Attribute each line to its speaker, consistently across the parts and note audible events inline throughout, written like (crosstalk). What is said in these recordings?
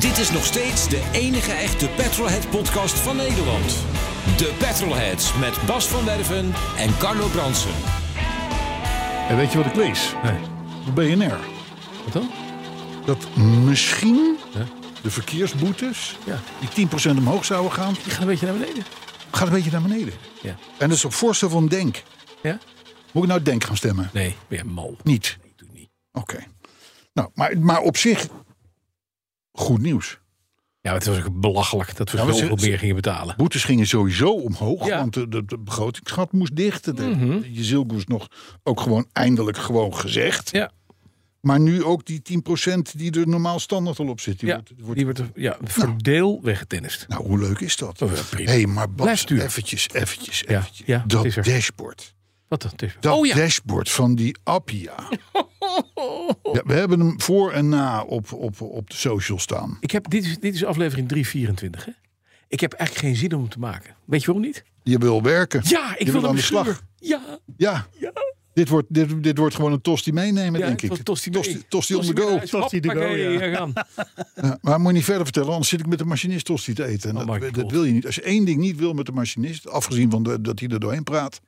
Speaker 1: Dit is nog steeds de enige echte Petrolhead-podcast van Nederland. De Petrolheads met Bas van Werven en Carlo Bransen.
Speaker 2: En weet je wat ik lees? BNR.
Speaker 3: Wat dan?
Speaker 2: Dat misschien de verkeersboetes,
Speaker 3: Ja.
Speaker 2: die 10% omhoog zouden gaan,
Speaker 3: Die gaan een beetje naar beneden.
Speaker 2: gaat een beetje naar beneden.
Speaker 3: Ja.
Speaker 2: En dat is op voorstel van Denk.
Speaker 3: Ja?
Speaker 2: Moet ik nou Denk gaan stemmen?
Speaker 3: Nee, weer mal.
Speaker 2: Niet.
Speaker 3: Doe niet.
Speaker 2: Oké. Nou, maar, maar op zich goed nieuws.
Speaker 3: Ja, het was ook belachelijk dat we
Speaker 2: Ja, maar
Speaker 3: zoveel
Speaker 2: ze-
Speaker 3: meer gingen betalen.
Speaker 2: Boetes gingen sowieso omhoog,
Speaker 3: Ja. Mhm.
Speaker 2: want de, de, de begrotingsgat moest dicht. De, de Jezilgus nog ook gewoon eindelijk gewoon gezegd.
Speaker 3: Ja,
Speaker 2: Maar nu ook die 10% die er normaal standaard al op zit. Die
Speaker 3: ja.
Speaker 2: wordt- wordt
Speaker 3: die wordt er- ja, voor deel weggedennist.
Speaker 2: Nou, hoe leuk is dat?
Speaker 3: Oh, ja, prima.
Speaker 2: hey, maar
Speaker 3: Blijf
Speaker 2: Bas,
Speaker 3: sturen.
Speaker 2: eventjes, eventjes,
Speaker 3: Ja,
Speaker 2: eventjes.
Speaker 3: ja,
Speaker 2: dat
Speaker 3: het is er.
Speaker 2: dashboard.
Speaker 3: Wat dan? Het is-
Speaker 2: Dat
Speaker 3: oh ja,
Speaker 2: dashboard van die
Speaker 3: (laughs)
Speaker 2: Appia. ja, we hebben hem voor en na op, op, op de social staan.
Speaker 3: ik heb, dit, is, dit is aflevering 324. Hè? Ik heb eigenlijk geen zin om hem te maken. Weet je waarom niet?
Speaker 2: Je wil werken.
Speaker 3: Ja, ik
Speaker 2: Je
Speaker 3: wil
Speaker 2: aan
Speaker 3: hem
Speaker 2: de slag.
Speaker 3: sleuren. Ja,
Speaker 2: Ja.
Speaker 3: ja.
Speaker 2: Dit, wordt, dit, dit wordt gewoon een tosti meenemen,
Speaker 3: ja,
Speaker 2: denk
Speaker 3: het was
Speaker 2: ik.
Speaker 3: Tosti mee.
Speaker 2: tosti on the
Speaker 3: mee
Speaker 2: go.
Speaker 3: naar huis.
Speaker 4: Tosti to go,
Speaker 3: Hoppakee,
Speaker 4: ja.
Speaker 3: we gaan.
Speaker 2: Ja, maar moet je niet verder vertellen, anders zit ik met de machinist tosti te eten. En
Speaker 3: Oh my
Speaker 2: dat, dat
Speaker 3: God.
Speaker 2: wil je niet. Als je één ding niet wil met de machinist, afgezien van de- dat hij er doorheen praat,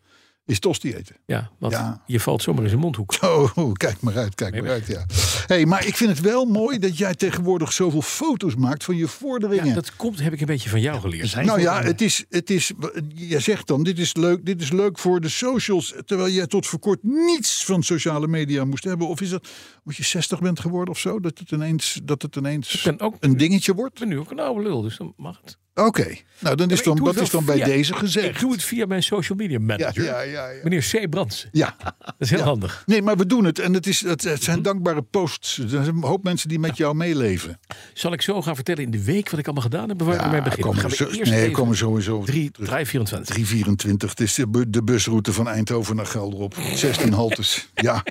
Speaker 2: is tosti eten. (laughs)
Speaker 3: Ja, want
Speaker 2: Ja.
Speaker 3: je valt zomaar in zijn mondhoek.
Speaker 2: Oh, oh, kijk maar uit, kijk maar uit, ja. hey, maar ik vind het wel mooi dat jij tegenwoordig zoveel foto's maakt van je vorderingen.
Speaker 3: Ja, dat komt, heb ik een beetje van jou geleerd.
Speaker 4: zijn
Speaker 2: nou ja,
Speaker 4: vorderingen.
Speaker 2: het is, het is, jij zegt dan, dit is, leuk, dit is leuk voor de socials. Terwijl jij tot voor kort niets van sociale media moest hebben. Of is dat, omdat je 60 bent geworden of zo, dat het ineens, dat het ineens
Speaker 3: ben ook-
Speaker 2: een dingetje wordt?
Speaker 3: Ik ben nu ook een oude lul, dus dan mag het.
Speaker 2: Oké, nou dan is
Speaker 3: Ja, maar
Speaker 2: dan,
Speaker 3: ik doe
Speaker 2: dat
Speaker 3: het
Speaker 2: is
Speaker 3: wel
Speaker 2: dan bij
Speaker 3: via-
Speaker 2: deze gezegd.
Speaker 3: Ik doe het via mijn social media
Speaker 2: ja,
Speaker 3: manager.
Speaker 2: ja, ja, ja.
Speaker 3: Meneer C. Brandsen.
Speaker 2: ja.
Speaker 3: Dat is heel handig. Mhm.
Speaker 2: Nee, maar we doen het. En het, is, het, het zijn dankbare posts. Er zijn een hoop mensen die met jou meeleven.
Speaker 3: Zal ik zo gaan vertellen in de week wat ik allemaal gedaan heb? en Waar we mee beginnen?
Speaker 2: Komen
Speaker 3: Gaan we
Speaker 2: zo-
Speaker 3: eerst
Speaker 2: nee,
Speaker 3: even
Speaker 2: komen sowieso
Speaker 3: drie- 324.
Speaker 2: 324. Het is de, bu- de busroute van Eindhoven naar Gelderop. 16 haltes. ja.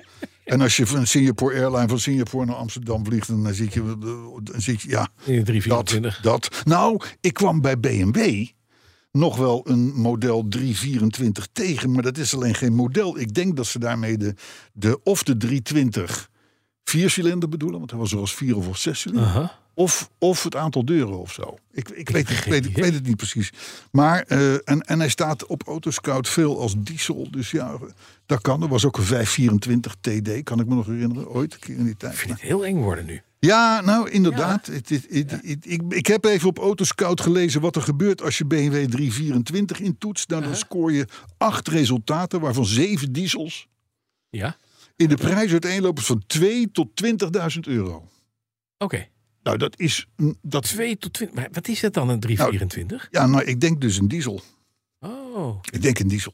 Speaker 2: En als je van Singapore Airline van Singapore naar Amsterdam vliegt, dan zit je, eh, dan zit je ja,
Speaker 3: In de
Speaker 2: dat,
Speaker 3: 324.
Speaker 2: dat. Nou, ik kwam bij BMW nog wel een model 324 tegen, maar dat is alleen geen model. Ik denk dat ze daarmee de, de of de 320 viercilinder bedoelen, want hij was er als vier of als zes cilinder.
Speaker 3: Aha.
Speaker 2: Of, of het aantal deuren of zo. Ik, ik, weet, ik,
Speaker 3: geen
Speaker 2: weet, ik
Speaker 3: idee.
Speaker 2: weet het niet precies. Maar, eh, en, en hij staat op Autoscout veel als diesel. Dus ja, dat kan. Er was ook een 524 TD, kan ik me nog herinneren. Ooit, een keer in die tijd.
Speaker 3: Ik vind het heel eng worden nu.
Speaker 2: Ja, nou inderdaad. Het, het- het- het- ik, ik heb even op Autoscout gelezen wat er gebeurt als je BMW 324 intoetst. Nou, dan scoor je acht resultaten, waarvan zeven diesels.
Speaker 3: Ja? Oké.
Speaker 2: In de prijs uiteenlopend van 2 tot 20.000 euro. Nou, dat is... een- Dat,
Speaker 3: 2 tot 20. Maar wat is dat dan, een 324?
Speaker 2: ja, nou, ik denk dus een diesel.
Speaker 3: oh.
Speaker 2: Ik denk een diesel.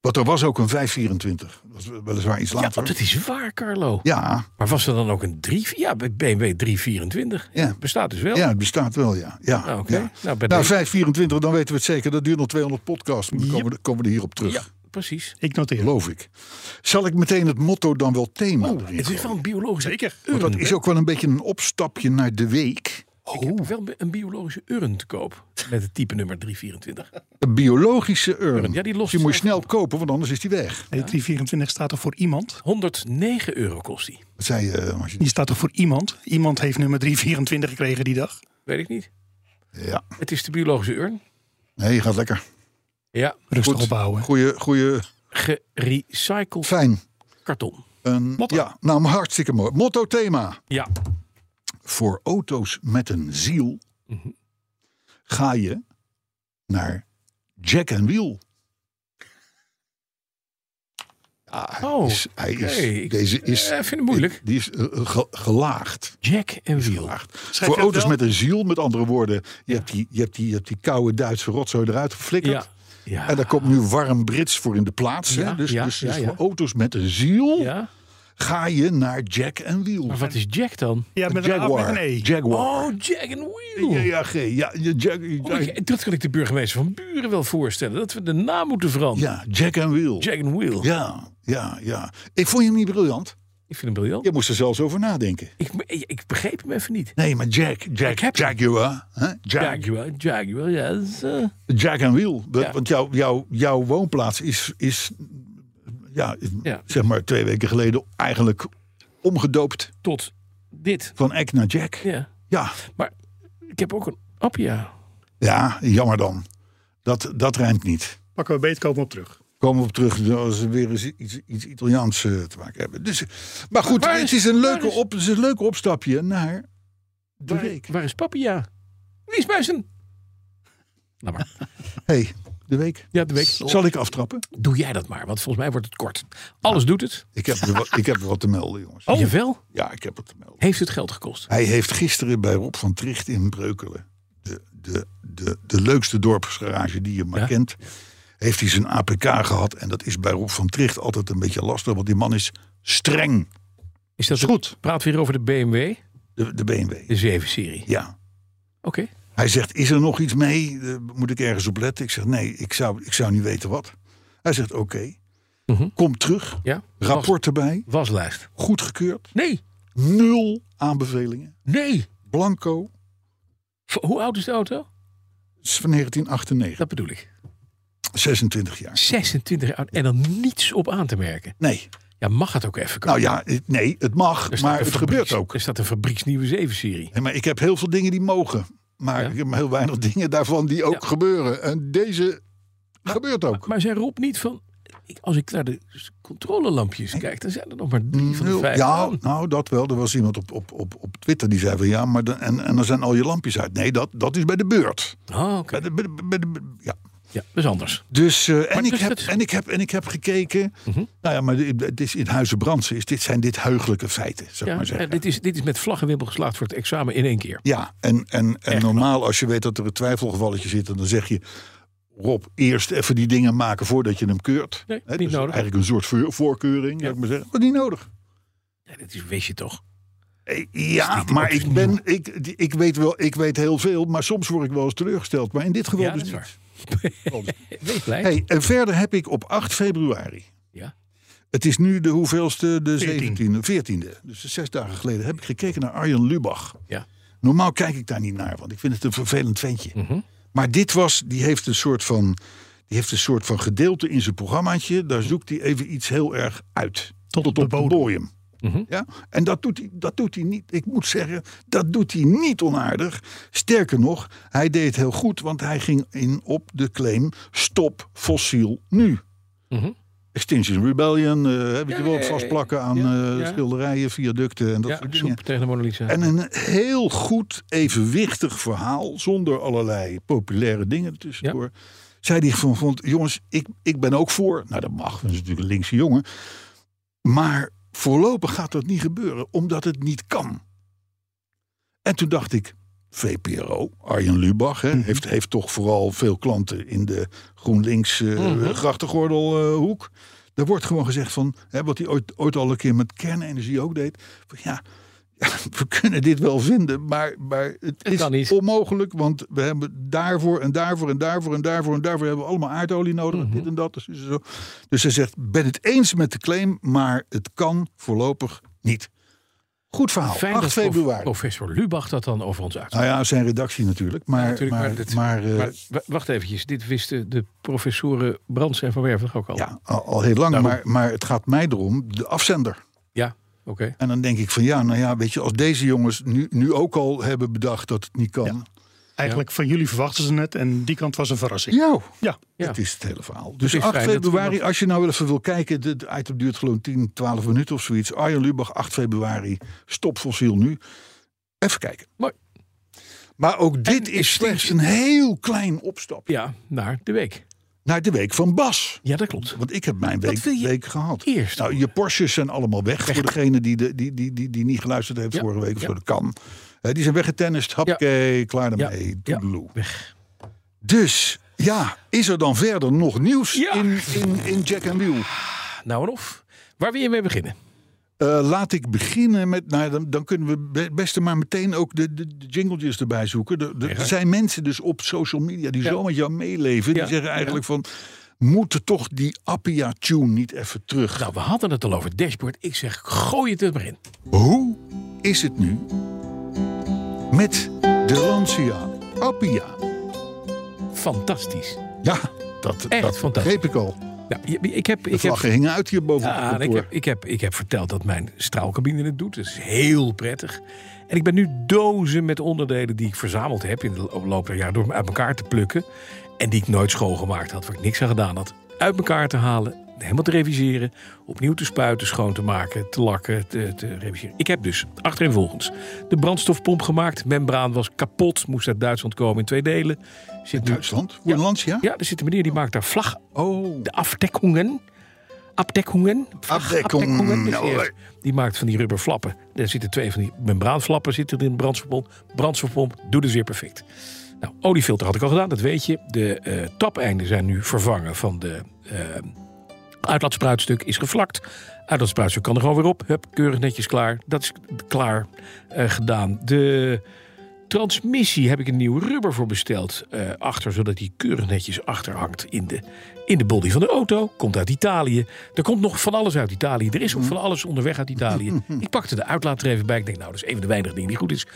Speaker 2: Want er was ook een 524. Dat was weliswaar iets
Speaker 3: Ja,
Speaker 2: later.
Speaker 3: want dat is waar, Carlo.
Speaker 2: ja,
Speaker 3: Maar was er dan ook een 3? Ja, bij BMW 324.
Speaker 2: Ja.
Speaker 3: Het Bestaat dus wel.
Speaker 2: ja, het bestaat wel, ja. ja,
Speaker 3: Ah, oké.
Speaker 2: ja.
Speaker 3: Nou, bij
Speaker 2: Nou,
Speaker 3: deze-
Speaker 2: 524, dan weten we het zeker. Dat duurt nog 200 podcasts. Dan komen, we, komen we hierop terug.
Speaker 3: Ja, precies.
Speaker 4: Ik noteer.
Speaker 2: Geloof ik. Zal ik meteen het motto dan wel thema erin
Speaker 3: Oh, Het is wel
Speaker 2: gooien?
Speaker 3: een biologische
Speaker 4: Zeker.
Speaker 3: urn.
Speaker 2: Dat is ook wel een beetje een opstapje naar de week.
Speaker 3: Ik heb Oh, wel een biologische urn te koop. Met het type nummer 324.
Speaker 2: Een biologische urn.
Speaker 3: Ja, die lost
Speaker 2: Die moet je
Speaker 3: zelf
Speaker 2: snel kopen, want anders is die weg.
Speaker 4: De 324 staat er voor iemand.
Speaker 3: 109 euro kost die.
Speaker 2: Dat zei je, eh, als je-
Speaker 4: Die staat er voor iemand. Iemand heeft nummer 324 gekregen die dag.
Speaker 3: Weet ik niet.
Speaker 2: Ja,
Speaker 3: Het is de biologische urn.
Speaker 2: nee, je gaat lekker.
Speaker 3: Ja,
Speaker 4: Rustig
Speaker 2: Goed.
Speaker 4: opbouwen.
Speaker 2: Goeie, goeie,
Speaker 3: gerecycled
Speaker 2: fijn.
Speaker 3: karton.
Speaker 2: Een,
Speaker 4: Motto.
Speaker 2: Ja, nou, maar hartstikke mooi. Motto thema.
Speaker 3: Ja,
Speaker 2: Voor auto's met een ziel
Speaker 3: Mhm.
Speaker 2: ga je naar Jack and Wheel. Ja, Ah, hij
Speaker 3: Oh,
Speaker 2: is, hij is,
Speaker 3: oké. Ik-
Speaker 2: deze is,
Speaker 3: eh, vind het moeilijk.
Speaker 2: Die is eh, ge- gelaagd.
Speaker 3: Jack en Wiel.
Speaker 2: Gelaagd.
Speaker 4: je
Speaker 2: Voor
Speaker 4: het
Speaker 2: auto's
Speaker 4: wel?
Speaker 2: met een ziel, met andere woorden. Je, hebt, die, je, hebt, die, je hebt die koude Duitse rotzooi eruit geflikkerd.
Speaker 3: Ja. ja.
Speaker 2: En daar komt nu warm Brits voor in de plaats. hè?
Speaker 3: Ja,
Speaker 2: Dus,
Speaker 3: ja,
Speaker 2: dus,
Speaker 3: ja,
Speaker 2: dus
Speaker 3: ja.
Speaker 2: voor auto's met een ziel
Speaker 3: Ja,
Speaker 2: ga je naar Jack en Wiel.
Speaker 3: Maar wat is Jack dan?
Speaker 4: Ja, met een A of met
Speaker 2: Jaguar.
Speaker 4: een E.
Speaker 2: Jaguar.
Speaker 3: Oh, Jack and Wheel.
Speaker 2: JAG. Ja, je Jack,
Speaker 3: Oh, ik- dat kan ik de burgemeester van Buren wel voorstellen. Dat we de naam moeten veranderen.
Speaker 2: ja, Jack en Wiel.
Speaker 3: Jack and Wheel.
Speaker 2: Ja, ja, ja. Ik vond je hem niet briljant.
Speaker 3: Ik vind hem briljant.
Speaker 2: Je moest er zelfs over nadenken.
Speaker 3: Ik, ik begreep hem even niet.
Speaker 2: Nee, maar Jack, Jack,
Speaker 3: Ik heb hem.
Speaker 2: Jaguar. Hè? Jack,
Speaker 3: Jaguar, Jaguar, ja. dat is, eh,
Speaker 2: Jack en Wiel.
Speaker 3: Ja.
Speaker 2: Want jouw, jouw, jouw woonplaats is, is ja,
Speaker 3: Ja.
Speaker 2: zeg maar twee weken geleden eigenlijk omgedoopt
Speaker 3: tot dit.
Speaker 2: van Eck naar Jack.
Speaker 3: Ja.
Speaker 2: Ja,
Speaker 3: Maar ik heb ook een Appia.
Speaker 2: ja jammer dan. Dat, dat rijmt niet.
Speaker 4: Pakken we beet, kopen we op terug.
Speaker 2: Komen we op terug als we weer eens iets, iets Italiaans eh, te maken hebben. Dus, maar goed,
Speaker 3: Waar
Speaker 2: het,
Speaker 3: is-
Speaker 2: is een
Speaker 3: waar
Speaker 2: leuke
Speaker 3: is-
Speaker 2: op, het is een leuke opstapje naar de
Speaker 3: Waar,
Speaker 2: week.
Speaker 3: waar is Papia? Wie is bij zijn... Nou maar.
Speaker 2: hey, de week.
Speaker 3: Ja, de week.
Speaker 2: Zal ik aftrappen?
Speaker 3: Doe jij dat maar, want volgens mij wordt het kort. Alles doet het.
Speaker 2: Ik heb, er wat, ik heb er wat te melden, jongens.
Speaker 3: Oh. Jawel,
Speaker 2: Ja, ik heb wat te melden.
Speaker 3: heeft het geld gekost.
Speaker 2: Hij heeft gisteren bij Rob van Tricht in Breukelen, de, de, de, de leukste dorpsgarage die je maar
Speaker 3: Ja.
Speaker 2: kent, heeft hij zijn APK gehad. En dat is bij Rob van Tricht altijd een beetje lastig, want die man is streng.
Speaker 3: Is dat
Speaker 2: Is goed.
Speaker 3: Praat weer over de BMW,
Speaker 2: De, de BMW.
Speaker 3: de 7-serie.
Speaker 2: Ja.
Speaker 3: Oké.
Speaker 2: Hij zegt, is er nog iets mee? Eh, moet ik ergens op letten? Ik zeg, nee, ik zou, ik zou niet weten wat. Hij zegt, oké.
Speaker 3: Mhm.
Speaker 2: Kom terug.
Speaker 3: Ja.
Speaker 2: Rapport erbij.
Speaker 3: Was- waslijst.
Speaker 2: Goedgekeurd.
Speaker 3: Nee,
Speaker 2: Nul aanbevelingen.
Speaker 3: nee.
Speaker 2: Blanco.
Speaker 3: V- Hoe oud is de auto?
Speaker 2: is van 1998.
Speaker 3: Dat bedoel ik.
Speaker 2: 26 jaar.
Speaker 3: 26 jaar oud en dan niets op aan te merken.
Speaker 2: Nee.
Speaker 3: Ja, mag het ook even
Speaker 2: Nou
Speaker 3: komen.
Speaker 2: ja, het- nee, het mag, maar het gebeurt ook.
Speaker 3: Er staat een fabrieksnieuwe 7-serie.
Speaker 2: Nee, maar ik heb heel veel dingen die mogen. Maar
Speaker 3: Ja.
Speaker 2: ik heb heel weinig (laughs) dingen daarvan die ook
Speaker 3: Ja. Nou,
Speaker 2: gebeuren. En deze gebeurt ook.
Speaker 3: Maar zei Rob niet van... ik- Als ik naar de s- controlelampjes kijk, dan zijn er nog maar drie van de
Speaker 2: Nul.
Speaker 3: vijf.
Speaker 2: ja,
Speaker 3: aan.
Speaker 2: nou dat wel. Er was iemand op, op, op, op Twitter die zei van ja, maar dan, en, en dan zijn al je lampjes uit. Nee, dat, dat is bij de beurt.
Speaker 3: Oh,
Speaker 2: Bij
Speaker 3: oké.
Speaker 2: de, bij de- bij de- ja.
Speaker 3: Ja, dat is anders.
Speaker 2: Dus, eh, en,
Speaker 3: Maar
Speaker 2: ik
Speaker 3: dus
Speaker 2: heb,
Speaker 3: het- Mhm.
Speaker 2: en, ik heb, en ik heb gekeken. Nou ja, maar dit- dit is in Huizen Brandsen is dit, zijn dit heugelijke feiten, zou ik
Speaker 3: Ja,
Speaker 2: maar zeggen.
Speaker 3: eh, dit, is, dit is met vlag en wimpel geslaagd voor het examen in één keer.
Speaker 2: Ja, en, en, en normaal als je weet dat er een twijfelgevalletje zit, dan zeg je. Rob, eerst even die dingen maken voordat je hem keurt.
Speaker 3: Nee,
Speaker 2: Hè,
Speaker 3: niet
Speaker 2: dus
Speaker 3: nodig.
Speaker 2: Eigenlijk een soort voor- voorkeuring, zou ik maar zeggen. Maar niet nodig.
Speaker 3: Ja, dat is, weet je toch.
Speaker 2: Eh, Ja, maar ik, ben, ik, ik weet wel, ik weet heel veel, maar soms word ik wel eens teleurgesteld. Maar in dit geval
Speaker 3: Ja,
Speaker 2: dus
Speaker 3: dat
Speaker 2: niet.
Speaker 3: is waar. (laughs) Weet blij.
Speaker 2: Hey, en verder heb ik op 8 februari,
Speaker 3: Ja.
Speaker 2: het is nu de hoeveelste, de 17e,
Speaker 4: 14e.
Speaker 2: 14e, dus zes dagen geleden, heb ik gekeken naar Arjen Lubach.
Speaker 3: Ja.
Speaker 2: Normaal kijk ik daar niet naar, want ik vind het een vervelend ventje.
Speaker 3: Mhm.
Speaker 2: Maar dit was, die heeft een soort van, die heeft een soort van gedeelte in zijn programmaatje. Daar zoekt hij even iets heel erg uit. Tot,
Speaker 4: op de
Speaker 2: de
Speaker 4: bodem.
Speaker 2: bodem. Ja? En dat doet, hij, dat doet hij niet, ik moet zeggen, dat doet hij niet onaardig. Sterker nog, hij deed het heel goed, want hij ging in op de claim: stop fossiel nu.
Speaker 3: Mhm.
Speaker 2: Extinction Rebellion, eh, weet
Speaker 3: Ja,
Speaker 2: je wel,
Speaker 3: ja,
Speaker 2: het
Speaker 3: ja,
Speaker 2: vastplakken aan
Speaker 3: ja,
Speaker 2: eh,
Speaker 3: ja.
Speaker 2: schilderijen, viaducten en dat
Speaker 3: Ja,
Speaker 2: soort dingen.
Speaker 3: soep tegen de Mona Lisa.
Speaker 2: En een heel goed, evenwichtig verhaal, zonder allerlei populaire dingen ertussendoor. Zei die van, vond, jongens, ik, ik ben ook voor. Nou, dat mag, dat is natuurlijk een linkse jongen. Maar voorlopig gaat dat niet gebeuren, omdat het niet kan. En toen dacht ik, VPRO, Arjen Lubach, hè,
Speaker 3: Mhm.
Speaker 2: heeft, heeft toch vooral veel klanten in de GroenLinks eh
Speaker 3: Mhm.
Speaker 2: grachtengordelhoek. Daar wordt gewoon gezegd van, hè, wat hij ooit, ooit al een keer met kernenergie ook deed. Van, ja, (laughs) ja, we kunnen dit wel vinden, maar, maar het, is
Speaker 3: kan niet.
Speaker 2: onmogelijk. Want we hebben daarvoor en daarvoor en daarvoor en daarvoor en daarvoor hebben we allemaal aardolie nodig.
Speaker 3: Mhm.
Speaker 2: en Dit en dat. Dus, zo. dus hij zegt, ben het eens met de claim, maar het kan voorlopig niet. Goed verhaal,
Speaker 3: Fijn
Speaker 2: 8
Speaker 3: dat
Speaker 2: februari.
Speaker 3: professor Lubach dat dan over ons uit.
Speaker 2: Nou ja, zijn redactie natuurlijk. Maar,
Speaker 3: natuurlijk,
Speaker 2: maar,
Speaker 3: maar dit-
Speaker 2: maar, eh,
Speaker 3: Maar w- wacht eventjes, dit wisten de professoren Brands en Van Werven toch ook al?
Speaker 2: ja, al, al heel lang. Maar, maar het gaat mij erom, de afzender.
Speaker 3: Ja, oké.
Speaker 2: En dan denk ik van ja, nou ja, weet je, als deze jongens nu, nu ook al hebben bedacht dat het niet kan.
Speaker 4: Eigenlijk van jullie verwachten ze het en die kant was een verrassing.
Speaker 2: Ja,
Speaker 4: Ja,
Speaker 3: Ja.
Speaker 2: dat is het hele verhaal. Dus
Speaker 3: is
Speaker 2: 8
Speaker 3: fijn dat we
Speaker 2: februari, als je nou wel even wil kijken, dit item duurt gewoon 10, 12 minuten of zoiets. Arjen Lubach, 8 februari, stop fossiel nu. Even kijken.
Speaker 3: Mooi.
Speaker 2: Maar ook dit is
Speaker 3: extinction.
Speaker 2: slechts een heel klein opstap
Speaker 3: Ja, naar de week.
Speaker 2: naar de week van Bas.
Speaker 3: Ja, dat klopt.
Speaker 2: Want ik heb mijn
Speaker 3: Wat
Speaker 2: week,
Speaker 3: wil je
Speaker 2: week gehad.
Speaker 3: eerst?
Speaker 2: Nou, je Porsches zijn allemaal weg. Voor degene die, de, die, die, die, die niet geluisterd heeft
Speaker 3: Ja,
Speaker 2: vorige week. Of
Speaker 3: ja.
Speaker 2: zo, dat kan. Hè, die zijn weggetennist. Hapke, klaar ermee.
Speaker 3: Ja,
Speaker 2: Toedeloe.
Speaker 3: Weg.
Speaker 2: Dus, ja, is er dan verder nog nieuws
Speaker 3: Ja.
Speaker 2: in, in, in Jack and Wheel?
Speaker 3: Nou en of. Waar wil je mee beginnen?
Speaker 2: Eh, laat ik beginnen met. Nou, dan, dan kunnen we be- best maar meteen ook de, de, de jingletjes erbij zoeken. Er, er zijn mensen dus op social media die zo met jou meeleven. Die
Speaker 3: Ja,
Speaker 2: zeggen eigenlijk van. Moet toch die Appia-tune niet even terug?
Speaker 3: Nou, we hadden het al over dashboard. Ik zeg, gooi het er maar in.
Speaker 2: Hoe is het nu met de Lancia Appia?
Speaker 3: Fantastisch.
Speaker 2: Ja, dat,
Speaker 3: Echt
Speaker 2: dat
Speaker 3: fantastisch.
Speaker 2: begreep ik al.
Speaker 3: Ja, je- ik Eh, heb,
Speaker 2: De
Speaker 3: ik heb
Speaker 2: vlaggen hingen uit hier boven
Speaker 3: Ja,
Speaker 2: het
Speaker 3: en ik
Speaker 2: kantoor.
Speaker 3: heb, ik, heb, ik heb verteld dat mijn straalkabine het doet. Dat is heel prettig. En ik ben nu dozen met onderdelen die ik verzameld heb in de lo- loop der jaren door hem uit elkaar te plukken. En die ik nooit schoongemaakt had, waar ik niks aan gedaan had. Uit elkaar te halen, helemaal te reviseren, opnieuw te spuiten, schoon te maken, te lakken, te, te reviseren. Ik heb dus achtereenvolgens de brandstofpomp gemaakt. Membraan was kapot, moest uit Duitsland komen in twee delen. Zit nu,
Speaker 2: Duitsland, voor een Lancia?
Speaker 3: ja, er zit een meneer die maakt daar vlag
Speaker 2: Oh,
Speaker 3: de afdekkingen.
Speaker 2: Abdekkungen,
Speaker 3: Abdekkingen. Abdekkungen, dus
Speaker 2: ja,
Speaker 3: die
Speaker 2: hoor.
Speaker 3: heeft- Die maakt van die rubberflappen. Daar zitten twee van die membraanflappen zitten in de brandstofpomp. Brandstofpomp doet het weer perfect. Nou, oliefilter had ik al gedaan, dat weet je. De eh tapeinden zijn nu vervangen van de eh, uitlaatspruitstuk is gevlakt. Uitlaatspruitstuk kan er gewoon weer op. Hup, keurig netjes klaar. Dat is klaar eh, gedaan. De transmissie heb ik een nieuw rubber voor besteld. eh, achter, zodat die keurig netjes achterhangt in de, in de body van de auto. Komt uit Italië. Er komt nog van alles uit Italië. Er is ook van alles onderweg uit Italië. Ik pakte de uitlaat er even bij. Ik denk, nou, dat is een van de weinige dingen die goed is.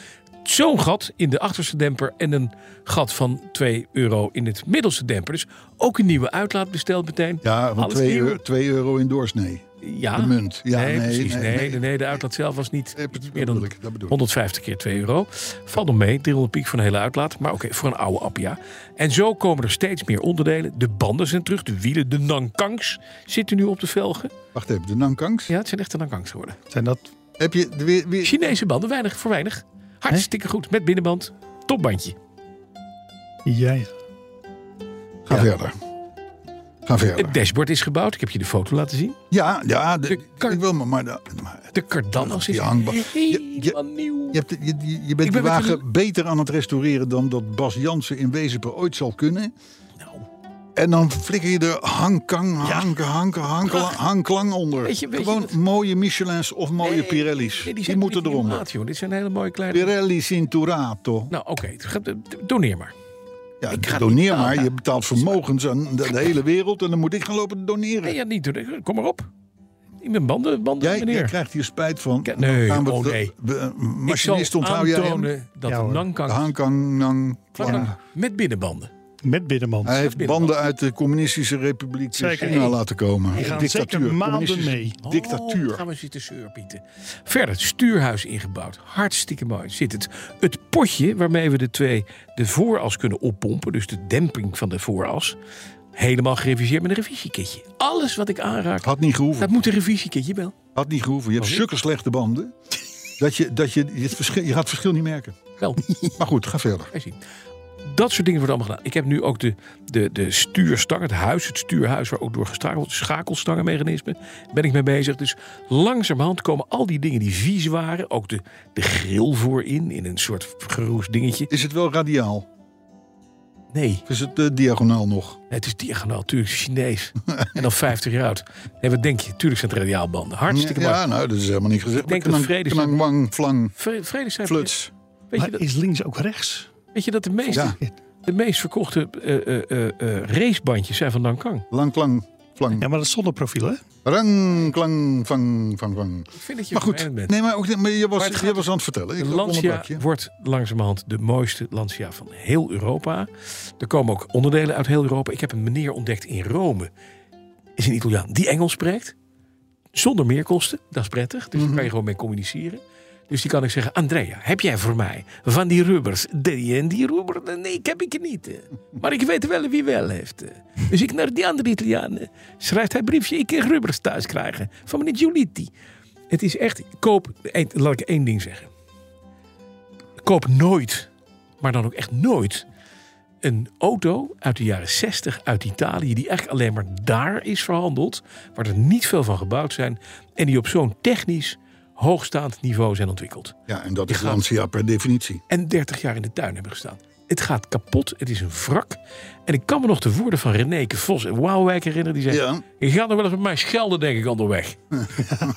Speaker 3: Zo'n gat in de achterste demper en een gat van 2 euro in het middelste demper. Dus ook een nieuwe uitlaat besteld meteen.
Speaker 2: ja, van
Speaker 3: Alles
Speaker 2: 2
Speaker 3: nieuw.
Speaker 2: euro, twee euro in doorsnee.
Speaker 3: Ja.
Speaker 2: De munt. Ja,
Speaker 3: nee,
Speaker 2: nee,
Speaker 3: precies.
Speaker 2: nee,
Speaker 3: Nee, nee,
Speaker 2: nee.
Speaker 3: nee, de uitlaat zelf was niet
Speaker 2: Nee, precies, dat
Speaker 3: meer dan
Speaker 2: bedoel ik, dat bedoel ik.
Speaker 3: 150 keer 2 euro. Valt nog mee, 300 piek voor een hele uitlaat. Maar oké, voor een oude Appia. En zo komen er steeds meer onderdelen. De banden zijn terug, de wielen, de nankangs zitten nu op de velgen.
Speaker 2: Wacht even, de Nankangs.
Speaker 3: Ja, het zijn echte nankangs geworden.
Speaker 4: Zijn dat
Speaker 2: Heb je de- weer, weer,
Speaker 3: Chinese banden, weinig voor weinig. Hartstikke goed, met binnenband, topbandje.
Speaker 4: jij?
Speaker 2: Ga verder. Ga verder.
Speaker 3: Het dashboard is gebouwd, ik heb je de foto laten zien.
Speaker 2: Ja, ja de,
Speaker 3: De kar-
Speaker 2: ik wil maar... maar, de- maar-
Speaker 3: De Cardanos is
Speaker 2: Die hangba- Je- je-
Speaker 3: helemaal nieuw.
Speaker 2: je, hebt, de- je, je- je bent
Speaker 3: ben
Speaker 2: de
Speaker 3: met
Speaker 2: wagen beter aan het restaureren dan dat Bas Jansen in Wezenper ooit zal kunnen.
Speaker 3: Nou,
Speaker 2: En dan flikker je er hangkang, hank, hank, hank, hangklang onder.
Speaker 3: Weet je- weet je
Speaker 2: Gewoon
Speaker 3: dat-
Speaker 2: mooie Michelins of mooie
Speaker 3: nee,
Speaker 2: Pirelli's.
Speaker 3: nee,
Speaker 2: die
Speaker 3: zijn
Speaker 2: moeten
Speaker 3: niet
Speaker 2: eronder.
Speaker 3: maat, joh. Dit zijn hele mooie kleine...
Speaker 2: Pirelli Cinturato.
Speaker 3: Nou, oké. het gaat- Doneer maar.
Speaker 2: Ja,
Speaker 3: ik ga
Speaker 2: doneer
Speaker 3: niet-
Speaker 2: maar. Je betaalt vermogens aan de, de hele wereld en dan moet ik gaan lopen doneren.
Speaker 3: Nee, ja, niet doen. Kom maar op. Ik ben banden, banden
Speaker 2: Jij, jij
Speaker 3: meneer.
Speaker 2: krijgt hier spijt van.
Speaker 3: Ke- nee,
Speaker 2: Dan
Speaker 3: oh,
Speaker 2: de-
Speaker 3: nee.
Speaker 2: we- eh,
Speaker 3: ik zal
Speaker 2: machinist onthoud jij hem.
Speaker 3: aantonen dat
Speaker 4: Ja,
Speaker 3: ja,
Speaker 4: hoor.
Speaker 3: Nankang
Speaker 2: Hankang Nang.
Speaker 3: vlak
Speaker 2: Klang.
Speaker 3: aan- met binnenbanden.
Speaker 4: Met Binnenman.
Speaker 2: Hij heeft banden uit de communistische republiek
Speaker 4: Zeker.
Speaker 2: China laten komen.
Speaker 4: Die gaan
Speaker 2: Dictatuur.
Speaker 4: zeker maanden
Speaker 2: Communistische
Speaker 4: mee.
Speaker 3: Oh,
Speaker 2: Dictatuur.
Speaker 3: gaan we zitten surpieten. Verder, het stuurhuis ingebouwd. Hartstikke mooi zit het. Het potje waarmee we de twee de vooras kunnen oppompen, dus de demping van de vooras, helemaal gereviseerd met een revisiekitje. Alles wat ik aanraak,
Speaker 2: Had niet gehoeven.
Speaker 3: dat moet Oh, een revisiekitje wel.
Speaker 2: Had niet gehoeven. Je hebt zulke slechte
Speaker 3: (laughs)
Speaker 2: banden. Dat je, dat je, je, het verschil, je gaat het verschil niet merken.
Speaker 3: Wel.
Speaker 2: Maar goed, ga verder.
Speaker 3: Wij zien. Dat soort dingen worden allemaal gedaan. Ik heb nu ook de, de, de stuurstang, het huis, het stuurhuis waar ook door geschakeld wordt, schakelstangenmechanisme, ben ik mee bezig. Dus langzamerhand komen al die dingen die vies waren, ook de, de grill voorin, in een soort geroest dingetje.
Speaker 2: Is het wel radiaal?
Speaker 3: Nee,
Speaker 2: Of is het eh, diagonaal nog?
Speaker 3: het is diagonaal, natuurlijk
Speaker 2: (laughs)
Speaker 3: Chinees. en dan 50 jaar oud. Nee, wat denk je? Tuurlijk zijn het radiaalbanden. Hartstikke
Speaker 2: ja,
Speaker 3: mooi.
Speaker 2: ja, nou, dat is helemaal niet gezegd.
Speaker 3: Ik denk
Speaker 2: Maar
Speaker 3: dat
Speaker 2: knang-
Speaker 3: Vrede-
Speaker 2: knang, wang, flang,
Speaker 3: Vre- Vredestein,
Speaker 2: fluts.
Speaker 3: Weet je,
Speaker 4: Maar
Speaker 3: dat,
Speaker 4: is links ook rechts?
Speaker 3: weet je dat de meeste,
Speaker 2: Ja,
Speaker 3: de meest verkochte eh, eh, eh, eh, racebandjes zijn van Nankang?
Speaker 2: lang, klang, flang.
Speaker 4: Ja, maar dat is zonneprofiel, hè?
Speaker 2: Rang, klang, vang, vang, vang.
Speaker 3: Ik vind dat je
Speaker 2: Maar goed,
Speaker 3: vervelend bent.
Speaker 2: nee, maar, ook, maar je was,
Speaker 3: Maar het gaat-
Speaker 2: je was aan het vertellen. Ik
Speaker 3: De
Speaker 2: onderbrak
Speaker 3: Lancia
Speaker 2: je.
Speaker 3: wordt langzamerhand de mooiste Lancia van heel Europa. Er komen ook onderdelen uit heel Europa. Ik heb een meneer ontdekt in Rome. Is een Italiaan die Engels spreekt. Zonder meerkosten. Dat is prettig. Dus daar kan je gewoon mee communiceren. Dus die kan ik zeggen, Andrea, heb jij voor mij van die rubbers die en die rubber? Nee, ik heb ik niet. eh. Maar ik weet wel wie wel heeft. eh. Dus ik naar die andere Italianen schrijft hij een briefje. Ik kan rubbers thuis krijgen van meneer Giulitti. Het is echt, koop, eh, laat ik één ding zeggen koop nooit, maar dan ook echt nooit, een auto uit de jaren 60 uit Italië, die echt alleen maar daar is verhandeld, waar er niet veel van gebouwd zijn en die op zo'n technisch hoogstaand niveau zijn ontwikkeld.
Speaker 2: Ja, en dat
Speaker 3: Je
Speaker 2: is
Speaker 3: gaat-
Speaker 2: Lancia per definitie.
Speaker 3: En 30 jaar in de tuin hebben gestaan. het gaat kapot, het is een wrak. En ik kan me nog de woorden van Renéke Vos en Waalwijk herinneren. Die zei,
Speaker 2: Ja.
Speaker 3: je gaat nog wel eens met mij schelden, denk ik, onderweg.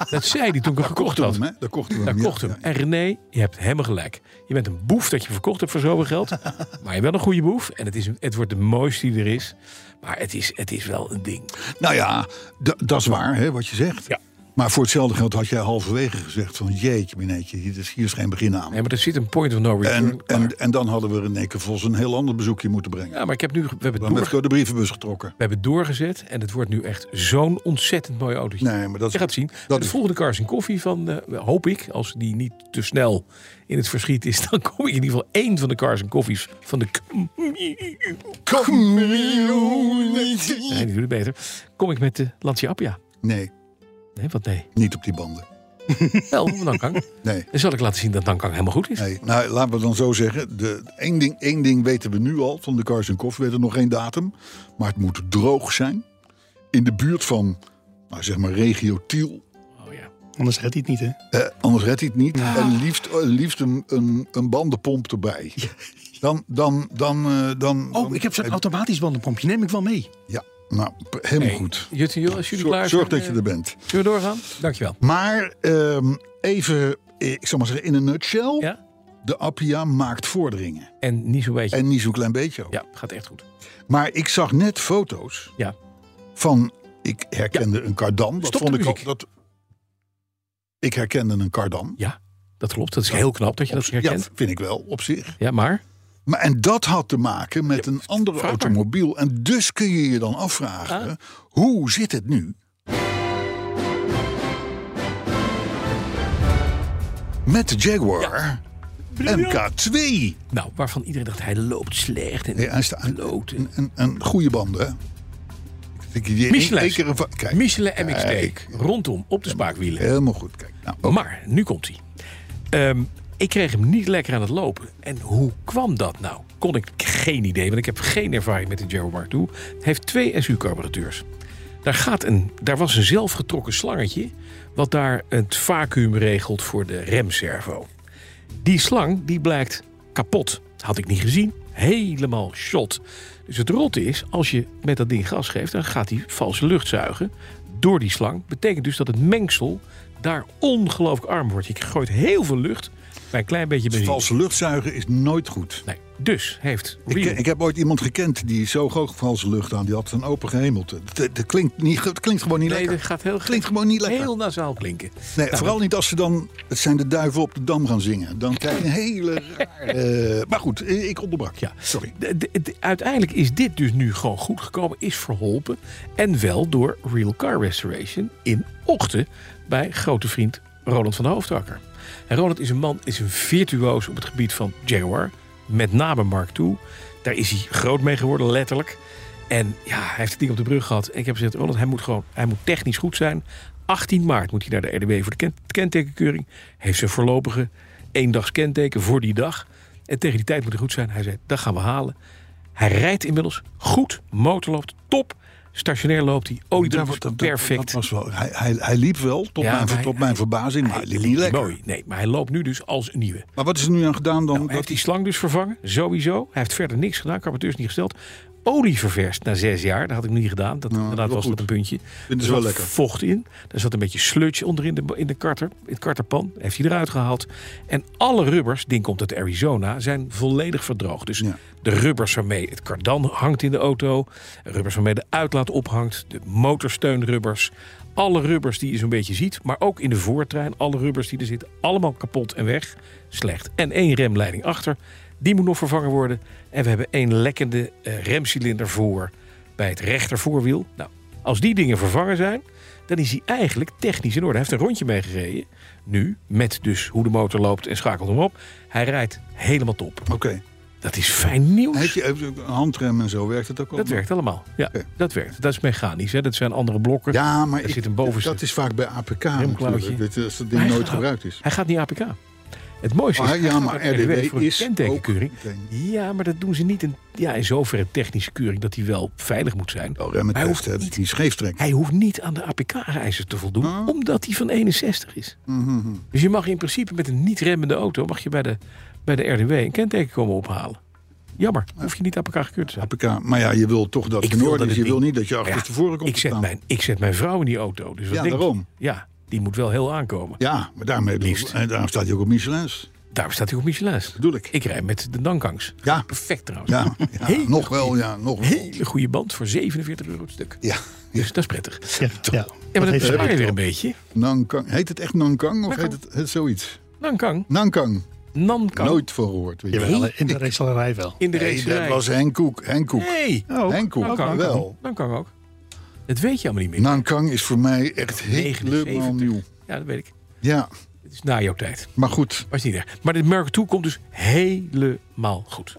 Speaker 3: dat zei hij toen ik hem gekocht
Speaker 2: Kocht
Speaker 3: had.
Speaker 2: hem, hè? Daar kocht hij hem.
Speaker 3: Daar
Speaker 2: ja.
Speaker 3: kocht hem. En René, je hebt helemaal gelijk. Je bent een boef dat je verkocht hebt voor zoveel
Speaker 2: (laughs)
Speaker 3: geld. maar je bent een goede boef. En het, is, het wordt de mooiste die er is. Maar het is, het is wel een ding.
Speaker 2: Nou ja, da- dat is waar, hè, wat je zegt.
Speaker 3: Ja.
Speaker 2: Maar voor hetzelfde geld had jij halverwege gezegd van... jeetje mineetje, hier is, hier is geen begin aan.
Speaker 3: Nee, maar er zit een point of no return.
Speaker 2: en, en, en dan hadden we Renéke Vos een heel ander bezoekje moeten brengen.
Speaker 3: ja, maar ik heb nu, we hebben,
Speaker 2: Dan
Speaker 3: door,
Speaker 2: werd ik door de brievenbus getrokken.
Speaker 3: we hebben doorgezet. En het wordt nu echt zo'n ontzettend mooi autootje.
Speaker 2: Nee, maar dat is
Speaker 3: je gaat zien.
Speaker 2: dat
Speaker 3: de
Speaker 2: is-
Speaker 3: volgende Cars in Koffie van, eh, hoop ik, als die niet te snel in het verschiet is, (laughs) dan kom ik in ieder geval één van de Cars en Koffies van de
Speaker 2: Community.
Speaker 3: Nee, die doet het beter. Kom ik met de Lancia Appia.
Speaker 2: Nee,
Speaker 3: Nee, wat nee.
Speaker 2: niet op die banden.
Speaker 3: Wel, een Nankang.
Speaker 2: Nee.
Speaker 3: Dan zal ik laten zien dat Nankang helemaal goed is.
Speaker 2: Nee, nou, laten we dan zo zeggen. De, één, ding, één ding weten we nu al van de Cars Koff. We weten nog geen datum. Maar het moet droog zijn. In de buurt van, nou, zeg maar, regio Tiel.
Speaker 3: Oh ja.
Speaker 4: Anders redt hij het niet, hè?
Speaker 2: Eh, anders redt hij het niet. En liefst, eh, liefst een, een, een bandenpomp erbij. Dan, dan, dan, eh, dan...
Speaker 4: Oh, ik heb zo'n automatisch bandenpompje. Neem ik wel mee.
Speaker 2: Ja, nou, p- helemaal
Speaker 3: Hey,
Speaker 2: goed.
Speaker 3: Jut en Jul, als jullie klaar
Speaker 2: Zorg, zorg
Speaker 3: zijn.
Speaker 2: dat je
Speaker 3: eh,
Speaker 2: er bent.
Speaker 3: Zullen we doorgaan? Dankjewel.
Speaker 2: Maar ehm, even, eh, ik zal maar zeggen, in een nutshell.
Speaker 3: Ja?
Speaker 2: De Appia maakt vorderingen.
Speaker 3: En niet zo'n beetje.
Speaker 2: En niet zo'n klein beetje ook.
Speaker 3: Ja, gaat echt goed.
Speaker 2: Maar ik zag net foto's
Speaker 3: Ja.
Speaker 2: van... Ik herkende een kardan. Dat
Speaker 3: Stop de
Speaker 2: vond ik
Speaker 3: muziek.
Speaker 2: ook... Dat, ik herkende een kardan.
Speaker 3: Ja, dat klopt. Dat is heel knap dat je dat
Speaker 2: Ja,
Speaker 3: herkent.
Speaker 2: vind ik wel, op zich.
Speaker 3: Ja, maar
Speaker 2: Maar, en dat had te maken met een andere
Speaker 3: vraag maar.
Speaker 2: automobiel. En dus kun je je dan afvragen,
Speaker 3: Ah.
Speaker 2: hoe zit het nu? Met de Jaguar MK2.
Speaker 3: nou, waarvan iedereen dacht hij loopt slecht en
Speaker 2: Nee, hij staat
Speaker 3: Klote.
Speaker 2: een, een, een goede banden. hè? Ik denk, die-
Speaker 3: Michelin.
Speaker 2: één keer een va- Kijk,
Speaker 3: Michelin MX-T rondom op de spaakwielen.
Speaker 2: helemaal goed. Kijk, nou, ook-
Speaker 3: Maar nu komt hij. Ehm, ik kreeg hem niet lekker aan het lopen. En hoe kwam dat nou? Kon ik geen idee, want ik heb geen ervaring met de Jaguar II. Het heeft twee SU-carburateurs. Daar, gaat een, daar was een zelfgetrokken slangetje... wat daar het vacuüm regelt voor de remservo. Die slang die blijkt kapot. Had ik niet gezien. Helemaal shot. Dus het rotte is, als je met dat ding gas geeft... dan gaat die valse lucht zuigen door die slang. Betekent dus dat het mengsel daar ongelooflijk arm wordt. Je gooit heel veel lucht bij een klein beetje benzine.
Speaker 2: valse luchtzuigen is nooit goed.
Speaker 3: Nee, dus heeft
Speaker 2: Ik,
Speaker 3: Riel-
Speaker 2: ik heb ooit iemand gekend die zo hoog valse lucht aan. Die had een open gehemelte. Dat, dat klinkt, niet, dat klinkt gewoon niet
Speaker 3: Nee,
Speaker 2: lekker.
Speaker 3: dat gaat heel,
Speaker 2: Klinkt gewoon niet lekker.
Speaker 3: heel nasaal klinken.
Speaker 2: Nee,
Speaker 3: Nou,
Speaker 2: vooral niet als ze dan... Het zijn de duiven op de dam gaan zingen. Dan krijg je een hele
Speaker 3: (laughs)
Speaker 2: rare... eh, maar goed, eh, ik onderbrak. Ja, sorry.
Speaker 3: De- de- de- uiteindelijk is dit dus nu gewoon goed gekomen, is verholpen. En wel door Real Car Restoration in Ochten bij grote vriend Roland van de Hoofdakker. En Roland is een man, is een virtuoos op het gebied van Jaguar. Met name Mark II. Daar is hij groot mee geworden, letterlijk. En ja, hij heeft het ding op de brug gehad. En ik heb gezegd, Roland, hij moet, gewoon, hij moet technisch goed zijn. 18 maart moet hij naar de RDW voor de ken- kentekenkeuring. Heeft zijn voorlopige eendags kenteken voor die dag. En tegen die tijd moet hij goed zijn. Hij zei, dat gaan we halen. Hij rijdt inmiddels goed. Motor loopt top. Stationair loopt hij. Oliedruk is perfect.
Speaker 2: Dat was wel, hij, hij, hij liep wel, tot,
Speaker 3: Ja,
Speaker 2: mijn,
Speaker 3: maar hij-
Speaker 2: tot mijn verbazing, maar hij liep niet lekker.
Speaker 3: Mooi. Nee, maar hij loopt nu dus als een nieuwe.
Speaker 2: Maar wat is er nu aan gedaan dan?
Speaker 3: Hij heeft
Speaker 2: dat
Speaker 3: die
Speaker 2: hij,
Speaker 3: slang dus vervangen, sowieso. Hij heeft verder niks gedaan, carburateurs dus niet gesteld. Olie ververst na zes jaar, dat had ik nog niet gedaan. Dat,
Speaker 2: Nou,
Speaker 3: inderdaad was dat een puntje.
Speaker 2: het
Speaker 3: er
Speaker 2: wel
Speaker 3: zat
Speaker 2: lekker.
Speaker 3: vocht in. Er zat een beetje sludge onderin de, in de karter, in het karterpan. Heeft hij eruit gehaald. En alle rubbers, ding komt uit Arizona, zijn volledig verdroogd. Dus
Speaker 2: Ja.
Speaker 3: de rubbers waarmee het kardan hangt in de auto. Rubbers waarmee de uitlaat ophangt. De motorsteunrubbers. Alle rubbers die je zo'n beetje ziet. Maar ook in de voortrein. Alle rubbers die er zitten. Allemaal kapot en weg. Slecht. En één remleiding achter. Die moet nog vervangen worden. En we hebben één lekkende eh, remcilinder voor. Bij het rechtervoorwiel. Nou, als die dingen vervangen zijn. Dan is hij eigenlijk technisch in orde. Hij heeft een rondje meegereden. Nu, met dus hoe de motor loopt en schakelt hem op. Hij rijdt helemaal top.
Speaker 2: Oké.
Speaker 3: Dat is fijn nieuws.
Speaker 2: Heeft je heeft je een handrem en zo, werkt het ook al?
Speaker 3: Dat werkt allemaal. Ja,
Speaker 2: Oké.
Speaker 3: dat werkt. Dat is mechanisch. Hè? Dat zijn andere blokken.
Speaker 2: Ja, maar
Speaker 3: Er
Speaker 2: ik-
Speaker 3: zit een bovenste-
Speaker 2: dat is vaak bij APK
Speaker 3: Remklauwtje.
Speaker 2: natuurlijk. Dat, als dat ding
Speaker 3: Maar hij
Speaker 2: nooit
Speaker 3: gaat-
Speaker 2: gebruikt is.
Speaker 3: Hij gaat niet APK. Het mooiste
Speaker 2: Oh,
Speaker 3: is...
Speaker 2: hij- ja,
Speaker 3: gaat
Speaker 2: maar
Speaker 3: naar de
Speaker 2: RDW
Speaker 3: voor een
Speaker 2: is ook
Speaker 3: kentekenkeuring.
Speaker 2: meteen.
Speaker 3: Ja, maar dat doen ze niet in, ja, in zoverre technische keuring... dat hij wel veilig moet zijn.
Speaker 2: Wel remmen
Speaker 3: hij, hoeft
Speaker 2: test, hè, dat
Speaker 3: niet,
Speaker 2: die scheeftrek.
Speaker 3: hij hoeft niet aan de APK-eisen te voldoen... omdat hij van 61 is.
Speaker 2: Mm-hmm.
Speaker 3: Dus je mag in principe met een niet remmende auto... mag je bij de, bij de RDW een kenteken komen ophalen. Jammer, hoef je niet aan elkaar gekeurd te zijn.
Speaker 2: APK. Maar ja, je wil toch dat
Speaker 3: Ik
Speaker 2: het in
Speaker 3: wil
Speaker 2: orde
Speaker 3: dat
Speaker 2: is.
Speaker 3: het
Speaker 2: Je wil
Speaker 3: niet-
Speaker 2: niet dat je
Speaker 3: Maar ja,
Speaker 2: achterstevoren komt
Speaker 3: ik,
Speaker 2: te
Speaker 3: zet
Speaker 2: staan.
Speaker 3: mijn, ik zet mijn vrouw in die auto. Dus wat
Speaker 2: Ja,
Speaker 3: denk je?
Speaker 2: daarom.
Speaker 3: Ja, die moet wel heel aankomen.
Speaker 2: Ja, maar daarmee
Speaker 3: Liefst.
Speaker 2: en daarom staat hij ook op Michelin's.
Speaker 3: Daarom staat hij op Michelin's.
Speaker 2: Bedoel ik.
Speaker 3: Ik rij met de Dankangs.
Speaker 2: Ja.
Speaker 3: Perfect trouwens.
Speaker 2: Ja, ja
Speaker 3: Hele
Speaker 2: nog wel, ja, nog wel.
Speaker 3: Hele goede band voor 47 euro het stuk.
Speaker 2: Ja.
Speaker 3: Dus dat is prettig.
Speaker 4: Ja, ja.
Speaker 3: Ja, maar dat
Speaker 4: heeft
Speaker 3: bespaar je
Speaker 4: ze
Speaker 3: weer een beetje.
Speaker 2: Nankang. Heet het echt Nankang of
Speaker 3: Nankang.
Speaker 2: heet het, het zoiets?
Speaker 3: Nankang.
Speaker 2: Nankang.
Speaker 3: Nankang.
Speaker 2: Nooit voor gehoord. Weet je.
Speaker 4: Jawel, in de racelerij wel.
Speaker 3: In de
Speaker 2: Nee,
Speaker 3: race.
Speaker 2: dat was Henk Koek. Henk Koek.
Speaker 3: Nee.
Speaker 4: ook.
Speaker 2: Henk Koek,
Speaker 3: Nankang.
Speaker 2: wel.
Speaker 3: Nankang ook. Dat weet je allemaal niet meer.
Speaker 2: Nankang is voor mij echt
Speaker 3: 79.
Speaker 2: helemaal nieuw.
Speaker 3: Ja, dat weet ik.
Speaker 2: Ja,
Speaker 3: Het is na jouw tijd.
Speaker 2: maar goed.
Speaker 3: Was niet erg. Maar dit merk toe komt dus helemaal goed.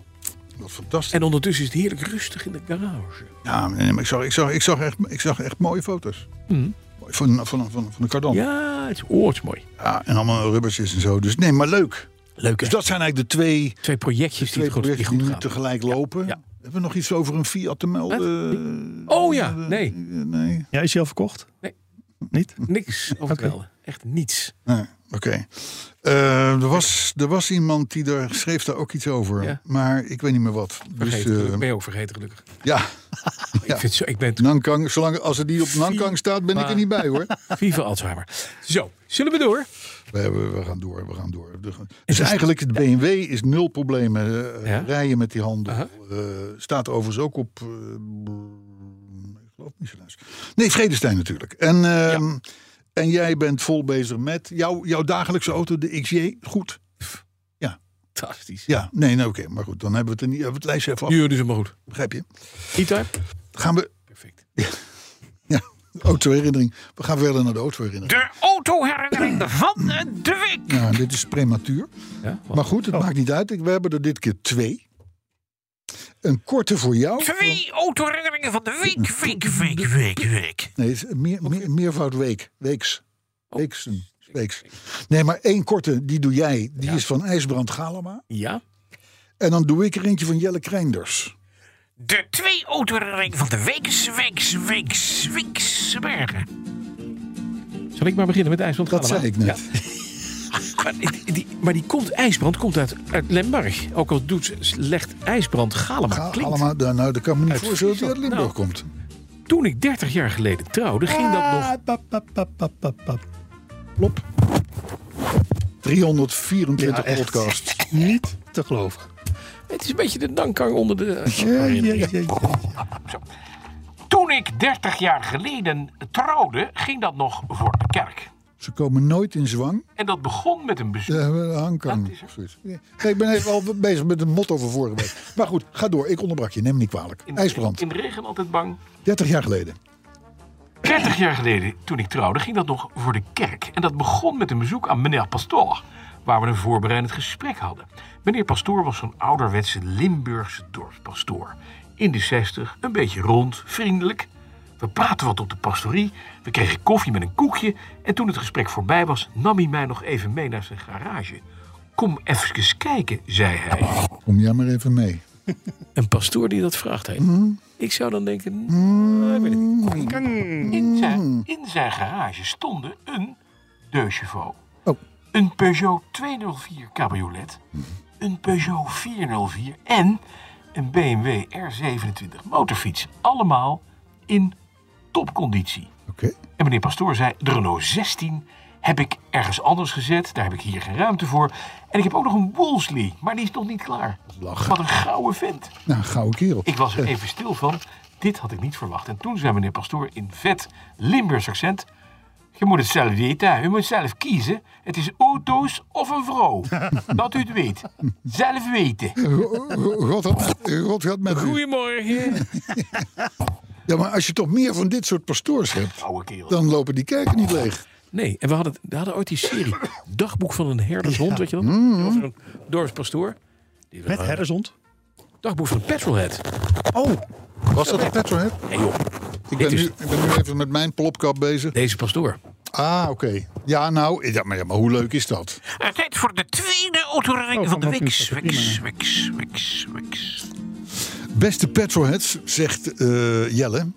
Speaker 2: Dat is fantastisch.
Speaker 3: En ondertussen is het heerlijk rustig in de garage.
Speaker 2: Ja, nee, nee, maar ik zag, ik zag, ik zag, echt, ik zag echt mooie foto's. Mooi, Van, van, van, van de kardan. Ja.
Speaker 3: Ja, het is, oh, het is mooi.
Speaker 2: en allemaal rubbertjes en zo. Dus nee, maar leuk.
Speaker 3: Leuk hè?
Speaker 2: Dus dat zijn eigenlijk de twee,
Speaker 3: Twee projectjes die
Speaker 2: twee
Speaker 3: het goed, die
Speaker 2: projecten
Speaker 3: goed
Speaker 2: die nu
Speaker 3: gaan.
Speaker 2: tegelijk lopen.
Speaker 3: ja.
Speaker 2: Hebben we nog iets over een Fiat te melden?
Speaker 3: Oh ja, nee.
Speaker 2: Eh, Nee.
Speaker 4: Ja, is hij al verkocht?
Speaker 3: Nee.
Speaker 4: Niet?
Speaker 2: (laughs)
Speaker 3: Niks over te melden. Echt niets.
Speaker 2: nee. Oké. Eh, er, was, er was iemand die daar schreef daar ook iets over.
Speaker 3: Ja.
Speaker 2: Maar ik weet niet meer wat.
Speaker 3: Vergeten.
Speaker 2: dus eh,
Speaker 3: gelukkig. ben je ook vergeten gelukkig.
Speaker 2: ja,
Speaker 3: Ik, vind zo, ik
Speaker 2: (laughs)
Speaker 3: ben
Speaker 2: Nankang, zolang, als het niet op Nankang staat, ben ik er niet bij hoor.
Speaker 3: viva Alzheimer. Zo, zullen we door?
Speaker 2: We, hebben, we gaan door, we gaan door. Dus eigenlijk het BMW is nul problemen. eh,
Speaker 3: Ja.
Speaker 2: Rijden met die handel.
Speaker 3: Aha.
Speaker 2: Eh, staat overigens ook op... eh, ik geloof Michelin's. Nee, Vredestein natuurlijk. En, ehm, en jij bent vol bezig met jouw, jouw dagelijkse auto, de XJ. Goed.
Speaker 3: Fantastisch.
Speaker 2: Ja, nee, nou, oké. maar goed, dan hebben we het, er niet, hebben we het lijstje even af.
Speaker 3: Nu dus maar goed.
Speaker 2: Begrijp je?
Speaker 3: E-type?
Speaker 2: Gaan we...
Speaker 3: Perfect.
Speaker 2: Ja, autoherinnering. We gaan verder naar de autoherinnering.
Speaker 5: De autoherinnering van de week.
Speaker 2: Nou, dit is prematuur.
Speaker 3: Ja, Oh. wat?
Speaker 2: Maar goed, het maakt niet uit. Ik- We hebben er dit keer twee. Een korte voor jou.
Speaker 5: Twee autoherinneringen van de week, week, week, week, week.
Speaker 2: Nee, het is meer, meer, meervoud week. Weeks.
Speaker 3: Oh.
Speaker 2: Weeksen. Weeks. Nee, maar één korte, die doe jij. Die is van IJsbrand Galama.
Speaker 3: ja.
Speaker 2: En dan doe ik er eentje van Jelle Kreinders.
Speaker 5: De twee autoherinneringen van de week, weeks, weeks, weeks, bergen.
Speaker 3: Zal ik maar beginnen met IJsland?
Speaker 2: Dat zei ik net.
Speaker 3: Maar die, die- maar die komt, IJsbrand komt uit, uit Lemberg. Ook al doet, ze- legt IJsbrand Galema
Speaker 2: Ga
Speaker 3: klinkt.
Speaker 2: allemaal, daar- nou, dat kan me niet
Speaker 3: Uit
Speaker 2: voorstellen dat hij uit
Speaker 3: Friesland.
Speaker 2: Limburg
Speaker 3: Nou.
Speaker 2: komt.
Speaker 3: Toen ik 30 jaar geleden trouwde, ging dat nog...
Speaker 4: Ah, pap, pap, pap, pap, pap, pap.
Speaker 2: 324
Speaker 4: Ja, echt.
Speaker 2: podcast.
Speaker 4: Niet te geloven.
Speaker 3: Het is een beetje de dankang onder de...
Speaker 4: Ja, ja, ja, ja.
Speaker 3: Toen ik 30 jaar geleden trouwde, ging dat nog voor de kerk.
Speaker 2: Ze komen nooit in zwang.
Speaker 3: En dat begon met een bezoek.
Speaker 2: Ja, hangkang.
Speaker 3: is er.
Speaker 2: Zoiets. Nee, ik ben even al bezig met een motto van vorige week. Maar goed, ga door. Ik onderbrak je. Neem me niet kwalijk.
Speaker 3: In de-
Speaker 2: IJsbrand.
Speaker 3: In de regen altijd bang.
Speaker 2: 30 jaar geleden.
Speaker 3: 30 jaar geleden, toen ik trouwde, ging dat nog voor de kerk. En dat begon met een bezoek aan meneer Pastoor, waar we een voorbereidend gesprek hadden. Meneer Pastoor was zo'n ouderwetse Limburgse dorpspastoor. In de 60, een beetje rond, vriendelijk. We praten wat op de pastorie, we kregen koffie met een koekje. En toen het gesprek voorbij was, nam hij mij nog even mee naar zijn garage. Kom even kijken, zei hij.
Speaker 2: Kom jij maar even mee.
Speaker 3: Een pastoor die dat vraagt, hè? Ik zou dan denken, nou, ik weet het niet. In zijn, in zijn garage stonden een Deugevo,
Speaker 2: Oh.
Speaker 3: een Peugeot 204 cabriolet, een Peugeot 404 en een BMW R27 motorfiets. Allemaal in topconditie.
Speaker 2: Oké.
Speaker 3: En meneer Pastoor zei, de Renault 16 heb ik ergens anders gezet. Daar heb ik hier geen ruimte voor. En ik heb ook nog een Wolseley, maar die is nog niet klaar.
Speaker 2: Lachen.
Speaker 3: Wat een gouden vent.
Speaker 2: Nou, gouden kerel.
Speaker 3: Ik was er even stil van. Dit had ik niet verwacht. En toen zei meneer Pastoor in vet Limburgs accent... Je moet het zelf weten. U moet zelf kiezen. Het is auto's of een
Speaker 4: (laughs)
Speaker 3: vrouw. Dat u het weet. Zelf weten.
Speaker 2: God had, God had met u.
Speaker 3: Goedemorgen.
Speaker 2: Ja, maar als je toch meer van dit soort pastoors hebt,
Speaker 3: Oude kerel.
Speaker 2: dan lopen die kerken niet leeg.
Speaker 3: Nee, en we hadden, we hadden ooit die serie. Dagboek van een herdershond, weet je dat? Over een dorpspastoor.
Speaker 4: Met herdershond.
Speaker 3: Dagboek van een petrolhead.
Speaker 2: Was dat een petrolhead?
Speaker 3: Oh. Nee joh,
Speaker 2: Ik ben,
Speaker 3: is-
Speaker 2: nu, ik ben nu even met mijn plopkap bezig.
Speaker 3: deze pastoor.
Speaker 2: Ah, oké. Ja, nou, ja, maar, ja, maar hoe leuk is dat?
Speaker 5: Eh, Tijd voor de tweede autoherinnering
Speaker 4: Oh,
Speaker 5: van de
Speaker 4: van
Speaker 5: week,
Speaker 4: Marcus, dat is
Speaker 5: weeks, weeks, weeks, weeks.
Speaker 2: Beste petrolheads, zegt eh, Jelle.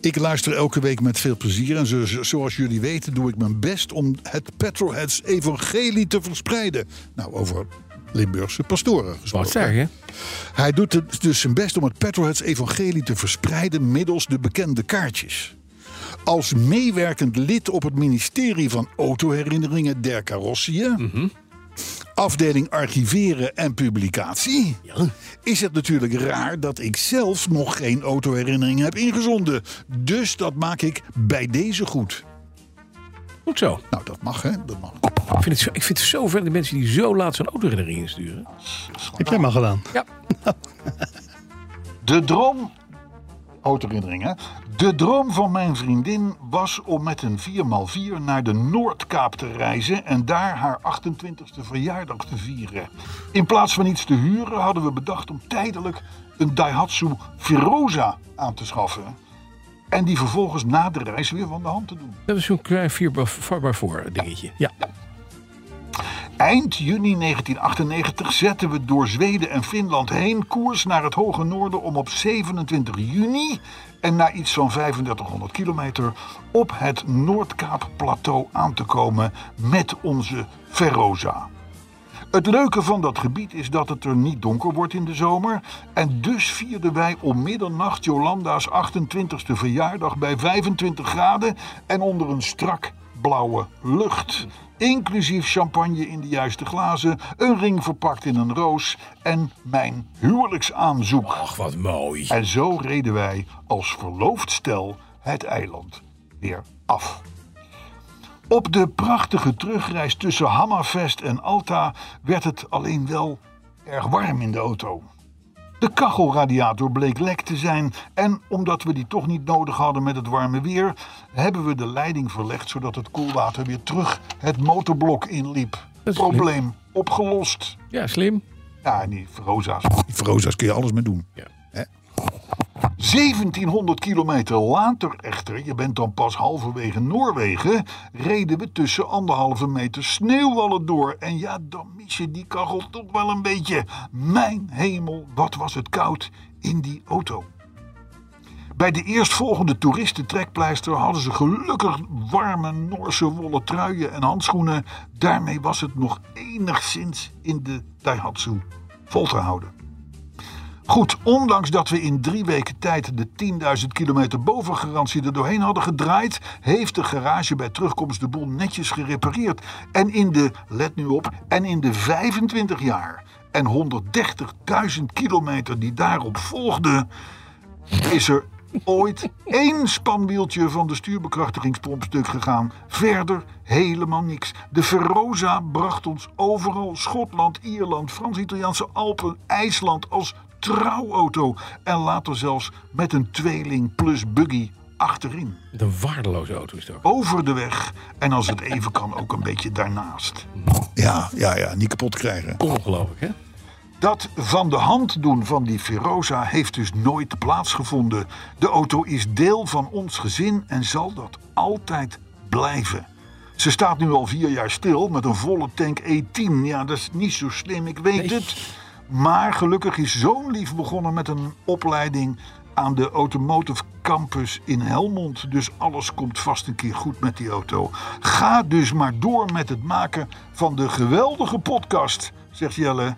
Speaker 2: Ik luister elke week met veel plezier. En zo- zo- zoals jullie weten doe ik mijn best om het petrolheads evangelie te verspreiden. Nou, over Limburgse pastoren
Speaker 3: Wat
Speaker 2: gesproken.
Speaker 3: zeg je?
Speaker 2: Hij doet het dus zijn best om het Petrolheads evangelie te verspreiden middels de bekende kaartjes. Als meewerkend lid op het ministerie van Autoherinneringen der Carrossiën,
Speaker 3: Mhm.
Speaker 2: afdeling Archiveren en Publicatie, is het natuurlijk raar dat ik zelf nog geen autoherinneringen heb ingezonden. Dus dat maak ik bij deze goed.
Speaker 3: Goed zo.
Speaker 2: Nou, dat mag, hè? Dat mag.
Speaker 3: Ik vind het zo, ik vind het zo ver de mensen die zo laat zo'n autoherinnering insturen.
Speaker 4: Heb jij maar gedaan.
Speaker 3: Ja.
Speaker 2: De droom. Autoherinnering, hè? De droom van mijn vriendin was om met een 4x4 naar de Noordkaap te reizen en daar haar 28e verjaardag te vieren. In plaats van iets te huren hadden we bedacht om tijdelijk een Daihatsu Firoza aan te schaffen. En die vervolgens na de reis weer van de hand te doen.
Speaker 3: Dat is zo'n klein 4x4 eh, dingetje. Ja.
Speaker 2: Eind juni 1998 zetten we door Zweden en Finland heen koers naar het hoge noorden om op 27 juni en na iets van 3500 kilometer op het Noordkaapplateau aan te komen met onze Ferroza. Het leuke van dat gebied is dat het er niet donker wordt in de zomer. En dus vierden wij om middernacht Jolanda's 28e verjaardag bij 25 graden en onder een strak blauwe lucht. Inclusief champagne in de juiste glazen, een ring verpakt in een roos en mijn huwelijksaanzoek.
Speaker 3: Ach, wat mooi.
Speaker 2: En zo reden wij als verloofd stel het eiland weer af. Op de prachtige terugreis tussen Hammerfest en Alta werd het alleen wel erg warm in de auto. De kachelradiator bleek lek te zijn en omdat we die toch niet nodig hadden met het warme weer, hebben we de leiding verlegd zodat het koelwater weer terug het motorblok inliep.
Speaker 3: is slim.
Speaker 2: Probleem opgelost.
Speaker 3: Ja, slim.
Speaker 2: Ja, en die Rosa's. Rosa's kun je alles mee doen.
Speaker 3: Ja.
Speaker 2: 1700 kilometer later echter, je bent dan pas halverwege Noorwegen, reden we tussen anderhalve meter sneeuwwallen door. En ja, dan mis je die kachel toch wel een beetje. Mijn hemel, wat was het koud in die auto. Bij de eerstvolgende toeristentrekpleister hadden ze gelukkig warme Noorse wollen truien en handschoenen. Daarmee was het nog enigszins in de Daihatsu vol te houden. Goed, ondanks dat we in drie weken tijd de 10.000 kilometer bovengarantie er doorheen hadden gedraaid, heeft de garage bij terugkomst de boel netjes gerepareerd. En in de, let nu op, en in de 25 jaar en 130.000 kilometer die daarop volgden, is er ooit één spanwieltje van de stuurbekrachtigingspomp stuk gegaan. Verder helemaal niks. De Feroza bracht ons overal Schotland, Ierland, Frans-Italiaanse Alpen, IJsland als trouwauto. En later zelfs met een tweeling plus buggy achterin
Speaker 3: Wat een waardeloze auto is het ook.
Speaker 2: over de weg en als het even kan ook een beetje daarnaast. Ja, ja, ja, niet kapot krijgen.
Speaker 3: Ongelooflijk, hè?
Speaker 2: Dat van de hand doen van die Feroza heeft dus nooit plaatsgevonden. De auto is deel van ons gezin en zal dat altijd blijven. Ze staat nu al vier jaar stil met een volle tank E10. Ja, dat is niet zo slim, ik weet het. Maar gelukkig is zo'n lief begonnen met een opleiding aan de Automotive Campus in Helmond. Dus alles komt vast een keer goed met die auto. Ga dus maar door met het maken van de geweldige podcast, zegt Jelle.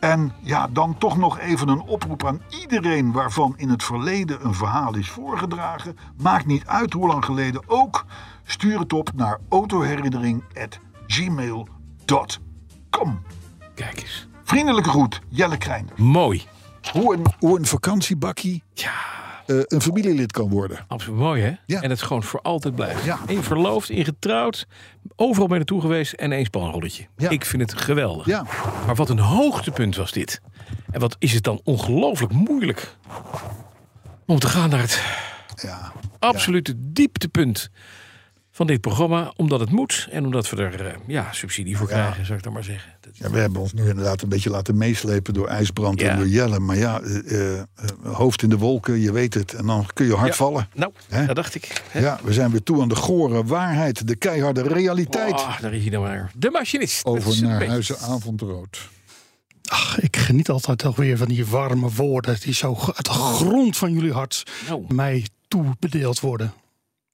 Speaker 2: En ja, dan toch nog even een oproep aan iedereen waarvan in het verleden een verhaal is voorgedragen. Maakt niet uit hoe lang geleden ook. Stuur het op naar autoherinnering.gmail.com.
Speaker 3: Kijk eens.
Speaker 2: Vriendelijke groet, Jelle Krijner.
Speaker 3: Mooi.
Speaker 2: Hoe een, hoe een vakantiebakkie eh, een familielid kan worden.
Speaker 3: Absoluut mooi, hè?
Speaker 2: Ja.
Speaker 3: En dat is gewoon voor altijd blijven.
Speaker 2: Ja.
Speaker 3: In verloofd, in getrouwd, overal bij naartoe geweest en één spanrolletje.
Speaker 2: Ja.
Speaker 3: Ik vind het geweldig.
Speaker 2: Ja.
Speaker 3: Maar wat een hoogtepunt was dit. En wat is het dan ongelooflijk moeilijk om te gaan naar het
Speaker 2: Ja.
Speaker 3: absolute dieptepunt van dit programma. Omdat het moet en omdat we er eh, ja, subsidie voor krijgen, zou ik dan maar zeggen. Dat is-
Speaker 2: Ja, we hebben ons nu inderdaad een beetje laten meeslepen door ijsbrand
Speaker 3: Ja.
Speaker 2: en door Jelle. Maar ja, eh, eh, hoofd in de wolken, je weet het. En dan kun je hard
Speaker 3: Ja.
Speaker 2: vallen.
Speaker 3: Nou,
Speaker 2: Hè?
Speaker 3: dat dacht ik. Hè?
Speaker 2: Ja, we zijn weer toe aan de gore waarheid, de keiharde realiteit.
Speaker 3: Ah, daar is hij dan maar. De machinist. Dat is
Speaker 2: Over
Speaker 3: het
Speaker 2: naar
Speaker 3: beest.
Speaker 2: huizen avondrood.
Speaker 4: Ach, ik geniet altijd toch weer van die warme woorden. Die zo uit de grond van jullie hart
Speaker 3: Nou.
Speaker 4: mij toebedeeld worden.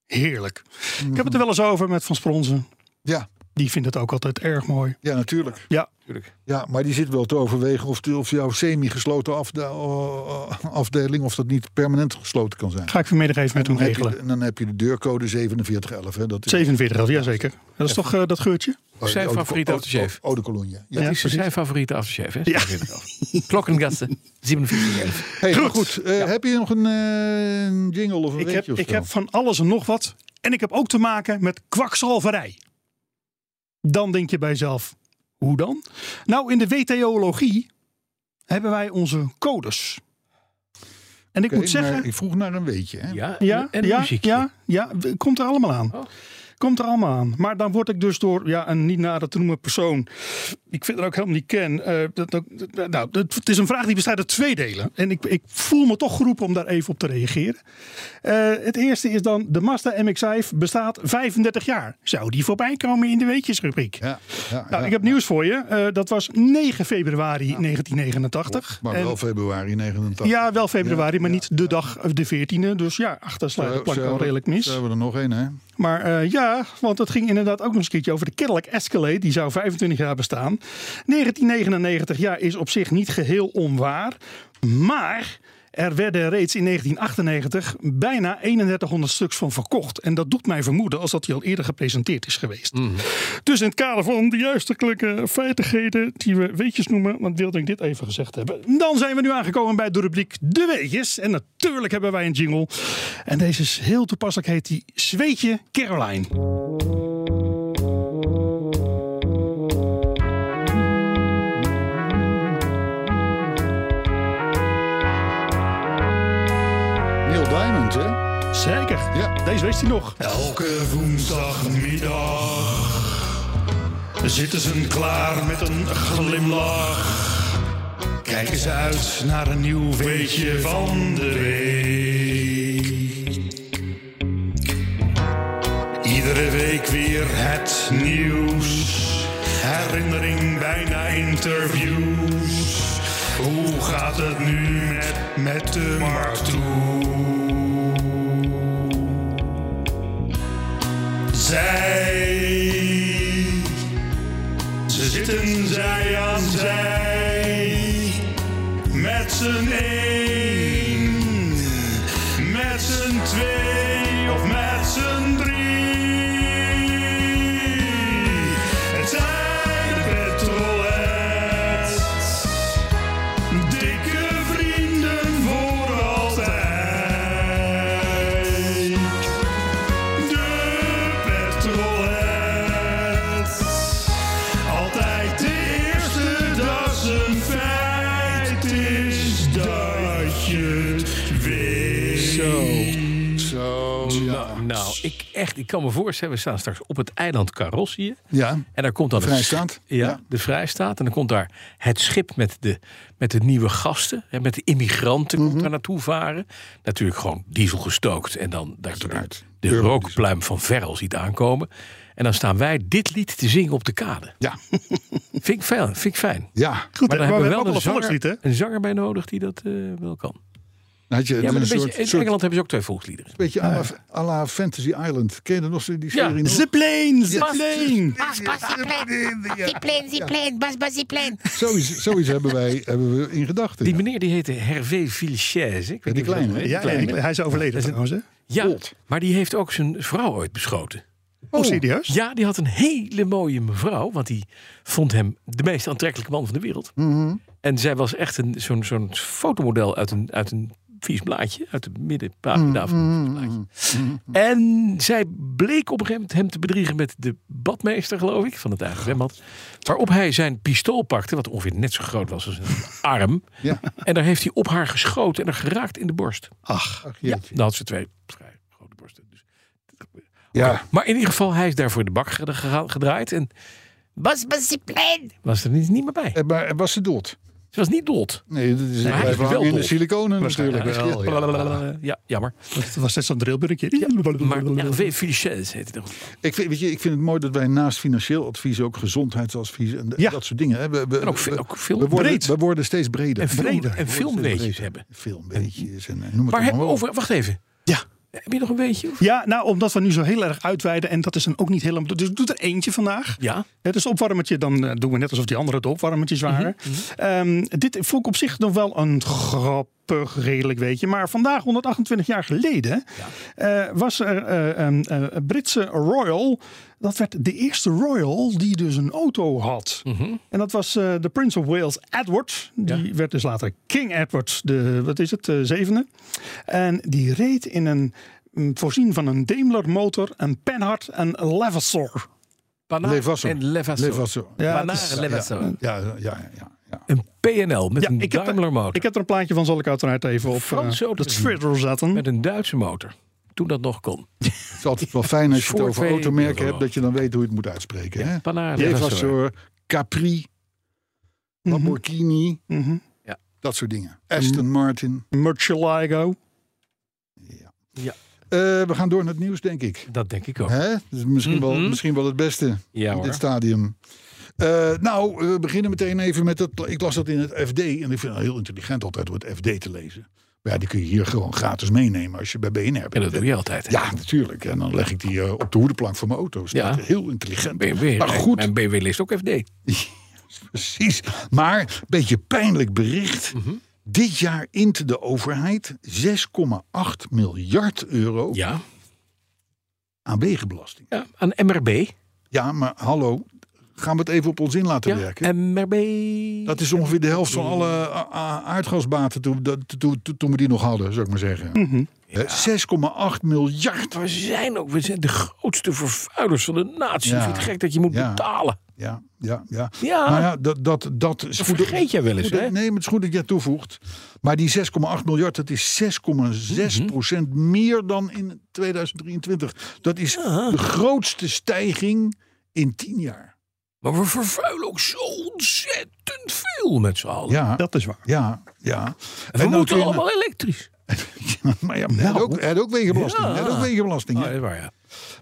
Speaker 4: Heerlijk. Ik heb het er wel eens over met Van Spronzen.
Speaker 2: Ja,
Speaker 4: die vindt het ook altijd erg mooi.
Speaker 2: Ja, natuurlijk.
Speaker 4: Ja,
Speaker 3: Tuurlijk.
Speaker 2: Ja, maar die zit wel te overwegen of, de- of jouw semi-gesloten afda- eh, afdeling... of dat niet permanent gesloten kan zijn.
Speaker 4: ga ik vanmiddag even met hem
Speaker 2: Dan heb je de-
Speaker 4: regelen.
Speaker 2: en dan heb je de deurcode 4711. Hè? Dat is
Speaker 4: 47 al, jazeker. Dat is toch eh, dat geurtje?
Speaker 2: oh,
Speaker 3: Zijn
Speaker 2: de eau-
Speaker 3: favoriete
Speaker 2: eau-
Speaker 3: aftershave.
Speaker 2: eau de Cologne. Ja.
Speaker 3: Dat is zijn favoriete afterchef, hè?
Speaker 4: Ja.
Speaker 3: Klokkengasten, 47.
Speaker 2: Hey, maar goed, eh, heb je nog een eh, jingle of een
Speaker 4: Ik
Speaker 2: weetje
Speaker 4: heb,
Speaker 2: of
Speaker 4: ik
Speaker 2: zo?
Speaker 4: heb van alles en nog wat. En ik heb ook te maken met kwakzalverij. Dan denk je bij jezelf, hoe dan? Nou, in de WTO-logie hebben wij onze codes. En ik
Speaker 2: Oké,
Speaker 4: moet zeggen...
Speaker 2: maar ik vroeg naar een weetje. Hè?
Speaker 3: Ja,
Speaker 4: Ja,
Speaker 3: en, en
Speaker 4: ja,
Speaker 3: muziekje.
Speaker 4: ja, ja, w- komt er allemaal aan.
Speaker 3: Oh.
Speaker 4: Komt er allemaal aan. Maar dan word ik dus door ja, een niet nader te noemen persoon, die ik verder ook helemaal niet ken. eh, dat, dat- dat- nou, dat- het is een vraag die bestaat uit twee delen. En ik, ik voel me toch geroepen om daar even op te reageren. Eh, het eerste is dan, de Mazda MX-5 bestaat 35 jaar. Zou die voorbij komen in de weetjesrubriek?
Speaker 2: Ja, ja,
Speaker 4: Nou,
Speaker 2: ja.
Speaker 4: ik heb nieuws voor je. Eh, dat was 9 februari 1989.
Speaker 2: Maar
Speaker 4: En-
Speaker 2: wel februari Eh, 89.
Speaker 4: ja, wel februari, maar
Speaker 2: Ja,
Speaker 4: niet de dag, eh, de 14e. Dus ja, achter slaat de plank
Speaker 2: Zo
Speaker 4: wel
Speaker 2: hebben-
Speaker 4: redelijk
Speaker 2: zo
Speaker 4: mis.
Speaker 2: hebben we er nog één, hè?
Speaker 4: Maar eh, ja, want het ging inderdaad ook nog eens een keertje over de Cadillac Escalade. Die zou 25 jaar bestaan. 1999 jaar is op zich niet geheel onwaar. Maar er werden reeds in 1998 bijna 3100 stuks van verkocht. En dat doet mij vermoeden als dat die al eerder gepresenteerd is geweest.
Speaker 2: Mhm.
Speaker 4: Dus in het kader van de juistelijke feitigheden die we weetjes noemen, want wilde ik dit even gezegd hebben. Dan zijn we nu aangekomen bij de rubriek De Weetjes. En natuurlijk hebben wij een jingle. En deze is heel toepasselijk, heet die Zweetje Caroline.
Speaker 2: Neil Diamond, hè?
Speaker 4: Zeker.
Speaker 2: Ja.
Speaker 4: Deze weet hij nog.
Speaker 6: Elke woensdagmiddag zitten ze klaar met een glimlach. Kijken ze uit naar een nieuw weetje van de week. Iedere week weer het nieuws. Herinnering, bijna interviews. Hoe gaat het nu met, met de markt toe? Zij. Ze zitten zij aan zij. Met z'n één. Met z'n twee of met z'n drie. Het zijn petrolheads. Dikke vrienden voor altijd. De petrolheads. Altijd de eerste, dat is een feit. Is dat je het weet.
Speaker 2: Zo, ja.
Speaker 3: Nou, ik, echt, ik kan me voorstellen, we staan straks op het eiland Karossië.
Speaker 2: Ja,
Speaker 3: En daar komt dan het
Speaker 2: Vrijstaat,
Speaker 3: schip- Ja,
Speaker 2: ja.
Speaker 3: de Vrijstaat. En dan komt daar het schip met de, met de nieuwe gasten. Hè, met de immigranten komt daar naartoe varen. Natuurlijk gewoon diesel gestookt. En dan dat je de,
Speaker 2: Uiteraard.
Speaker 3: de
Speaker 2: Turbodiesel.
Speaker 3: rookpluim van Verrel ziet aankomen. En dan staan wij dit lied te zingen op de kade.
Speaker 2: ja,
Speaker 3: Vind ik fijn. Vind ik fijn. (laughs)
Speaker 2: ja.
Speaker 3: Maar daar
Speaker 4: Goed, hè?
Speaker 3: hebben we
Speaker 4: hebben
Speaker 3: wel
Speaker 4: ook
Speaker 3: een
Speaker 4: volkslied, hè?
Speaker 3: zanger, een zanger bij nodig die dat eh, wel kan.
Speaker 2: Dan Had je
Speaker 3: Ja, maar
Speaker 2: een
Speaker 3: een beetje,
Speaker 2: soort,
Speaker 3: in
Speaker 2: soort
Speaker 3: Engeland hebben ze ook twee volksliederen.
Speaker 2: beetje à la, à la Fantasy Island. Ken je dat nog zo, die
Speaker 3: Ja.
Speaker 2: serie? nog?
Speaker 4: The plane, the plane.
Speaker 7: Bas, bas, zipleen. Zipleen, zipleen. Bas, bas, zipleen.
Speaker 2: Zoiets, zoiets hebben, wij, hebben we in gedachten.
Speaker 3: Die
Speaker 2: ja.
Speaker 3: meneer die heette Hervé Vilches. Ik weet
Speaker 2: die
Speaker 3: niet of je dat
Speaker 2: kleine,
Speaker 3: weet.
Speaker 2: hè?
Speaker 4: Ja,
Speaker 2: Kleine.
Speaker 4: hij is overleden trouwens, hè?
Speaker 3: Ja, maar die heeft ook zijn vrouw ooit beschoten.
Speaker 4: Oh, serieus?
Speaker 3: Ja, die had een hele mooie mevrouw, want die vond hem de meest aantrekkelijke man van de wereld. En zij was echt een, zo'n, zo'n fotomodel uit een, uit een vies blaadje, uit de middenpagina van een vies blaadje. En zij bleek op een gegeven moment hem te bedriegen met de badmeester, geloof ik, van het eigen zwembad. Waarop hij zijn pistool pakte, wat ongeveer net zo groot was als een arm.
Speaker 2: Ja.
Speaker 3: En daar heeft hij op haar geschoten en haar geraakt in de borst.
Speaker 4: Ach,
Speaker 2: Ach,
Speaker 3: Ja,
Speaker 2: jeetje.
Speaker 3: dan had ze twee vrij grote borsten. Dus.
Speaker 2: ja.
Speaker 3: Maar in ieder geval, hij is daarvoor de bak geda- geda- gedraaid en
Speaker 7: Bas, bas, zipleen.
Speaker 3: was er niet, niet meer bij.
Speaker 2: Eh, Maar was ze dood?
Speaker 3: Ze was niet dood.
Speaker 2: Nee, dat is
Speaker 3: hij
Speaker 2: blijven
Speaker 3: is wel
Speaker 2: hangen in de
Speaker 3: dood.
Speaker 2: siliconen natuurlijk.
Speaker 3: Ja, blablabla. ja jammer.
Speaker 4: dat was net zo'n drillbunnetje.
Speaker 3: Maar RV Filichez heet het nog.
Speaker 2: Ik vind, weet je, ik vind het mooi dat wij naast financieel advies ook gezondheidsadvies en de-
Speaker 4: Ja.
Speaker 2: dat soort dingen. Hè. We, we,
Speaker 3: En ook,
Speaker 2: we-
Speaker 3: veel- ook veel
Speaker 2: we worden,
Speaker 3: breed.
Speaker 2: we worden steeds breder.
Speaker 3: En veel-
Speaker 2: We worden
Speaker 3: en
Speaker 2: steeds
Speaker 3: filmweetjes
Speaker 2: breder.
Speaker 3: hebben.
Speaker 2: Filmweetjes en eh, noem het
Speaker 3: Maar
Speaker 2: allemaal
Speaker 3: hebben
Speaker 2: op.
Speaker 3: over, wacht even.
Speaker 4: Ja.
Speaker 6: Heb je nog een beetje? of-
Speaker 4: Ja, nou, omdat we nu zo heel erg uitweiden en dat is dan ook niet helemaal. Dus ik doe er eentje vandaag.
Speaker 6: Ja.
Speaker 4: Het is opwarmetje, dan eh, doen we net alsof die andere het opwarmertjes waren. Ehm, dit vond ik op zich nog wel een grappig, redelijk weetje. Maar vandaag, 128 jaar geleden, eh, was er eh, een eh, een Britse Royal. Dat werd de eerste Royal die dus een auto had. En dat was eh, de Prince of Wales Edward. Die werd dus later King Edward, de, wat is het, de zevende. En die reed in een, mm, voorzien van een Daimler motor, een Panhard en een Levasseur.
Speaker 6: Panna
Speaker 2: Levasseur.
Speaker 6: en Levasseur.
Speaker 2: Levasseur.
Speaker 4: Ja,
Speaker 6: Panna
Speaker 4: het is-
Speaker 6: en Levasseur.
Speaker 2: Ja, ja, ja. ja, ja.
Speaker 6: Een PNL met een
Speaker 4: ik heb er-
Speaker 6: Daimler motor.
Speaker 4: Ik heb er een plaatje van, zal ik uiteraard even op
Speaker 6: Franse
Speaker 4: eh,
Speaker 6: auto.
Speaker 4: dat Twitter zetten.
Speaker 6: Met een Duitse motor. Toen dat nog kon.
Speaker 2: Het is altijd wel fijn als je het
Speaker 6: Voor
Speaker 2: over
Speaker 6: twee
Speaker 2: automerken
Speaker 6: euro.
Speaker 2: hebt, dat je dan weet hoe je het moet uitspreken. hè?
Speaker 6: Panna en Levasseur.
Speaker 2: Levasseur, Capri,
Speaker 6: Mhm.
Speaker 2: Lamborghini,
Speaker 4: Mhm.
Speaker 2: dat soort dingen. Aston Martin.
Speaker 4: Murcielago.
Speaker 2: Eh, we gaan door naar het nieuws, denk ik.
Speaker 6: Dat denk ik ook.
Speaker 2: Hè? Dat is misschien,
Speaker 6: Mhm.
Speaker 2: wel, misschien wel het beste
Speaker 6: Oh. Ja,
Speaker 2: in
Speaker 6: hoor.
Speaker 2: dit stadium. Eh, nou, we beginnen meteen even met dat. Ik las dat in het FD en ik vind het heel intelligent altijd om het FD te lezen. Maar ja, die kun je hier gewoon gratis meenemen als je bij BNR
Speaker 6: En
Speaker 2: bent.
Speaker 6: dat doe je altijd. hè?
Speaker 2: Ja, natuurlijk. En dan leg ik die eh, op de hoedenplank van mijn auto. Staat
Speaker 6: Ja.
Speaker 2: Heel intelligent.
Speaker 6: BMW.
Speaker 2: maar goed,
Speaker 6: En BMW leest ook FD.
Speaker 2: precies. Maar een beetje pijnlijk bericht.
Speaker 6: Mhm.
Speaker 2: Dit jaar int de overheid 6,8 miljard euro
Speaker 6: Ja.
Speaker 2: aan wegenbelasting.
Speaker 6: ja. Aan MRB.
Speaker 2: Ja, maar hallo, gaan we het even op ons in laten
Speaker 6: Ja.
Speaker 2: werken?
Speaker 6: MRB.
Speaker 2: Dat is ongeveer de helft van alle eh, a- a- aardgasbaten toen, dat- toen, toen- toen we die nog hadden, zou ik maar zeggen. Hè, 6,8 miljard.
Speaker 6: We zijn ook we zijn de grootste vervuilers van de natie.
Speaker 2: Ja.
Speaker 6: Ik vind het gek dat je moet
Speaker 2: Ja.
Speaker 6: betalen.
Speaker 2: Ja, ja, ja.
Speaker 6: Ja.
Speaker 2: Nou ja, dat, dat, dat is
Speaker 6: Dat
Speaker 2: goed. dat-
Speaker 6: vergeet jij wel eens,
Speaker 2: goed dat-
Speaker 6: hè?
Speaker 2: Nee, maar het is goed dat jij toevoegt. Maar die 6,8 miljard, dat is 6,6 procent meer dan in 2023. Dat is de grootste stijging in 10 jaar.
Speaker 6: Maar we vervuilen ook zo ontzettend veel met z'n allen.
Speaker 2: Ja,
Speaker 4: Dat is waar.
Speaker 2: ja, ja.
Speaker 6: En we
Speaker 2: dan kun
Speaker 6: moeten
Speaker 2: je-
Speaker 6: allemaal elektrisch.
Speaker 2: (laughs) maar ja, hij had ook, hij had ook wegenbelasting. hij had ook wegenbelasting. hè?
Speaker 6: Ah, dat is waar, ja.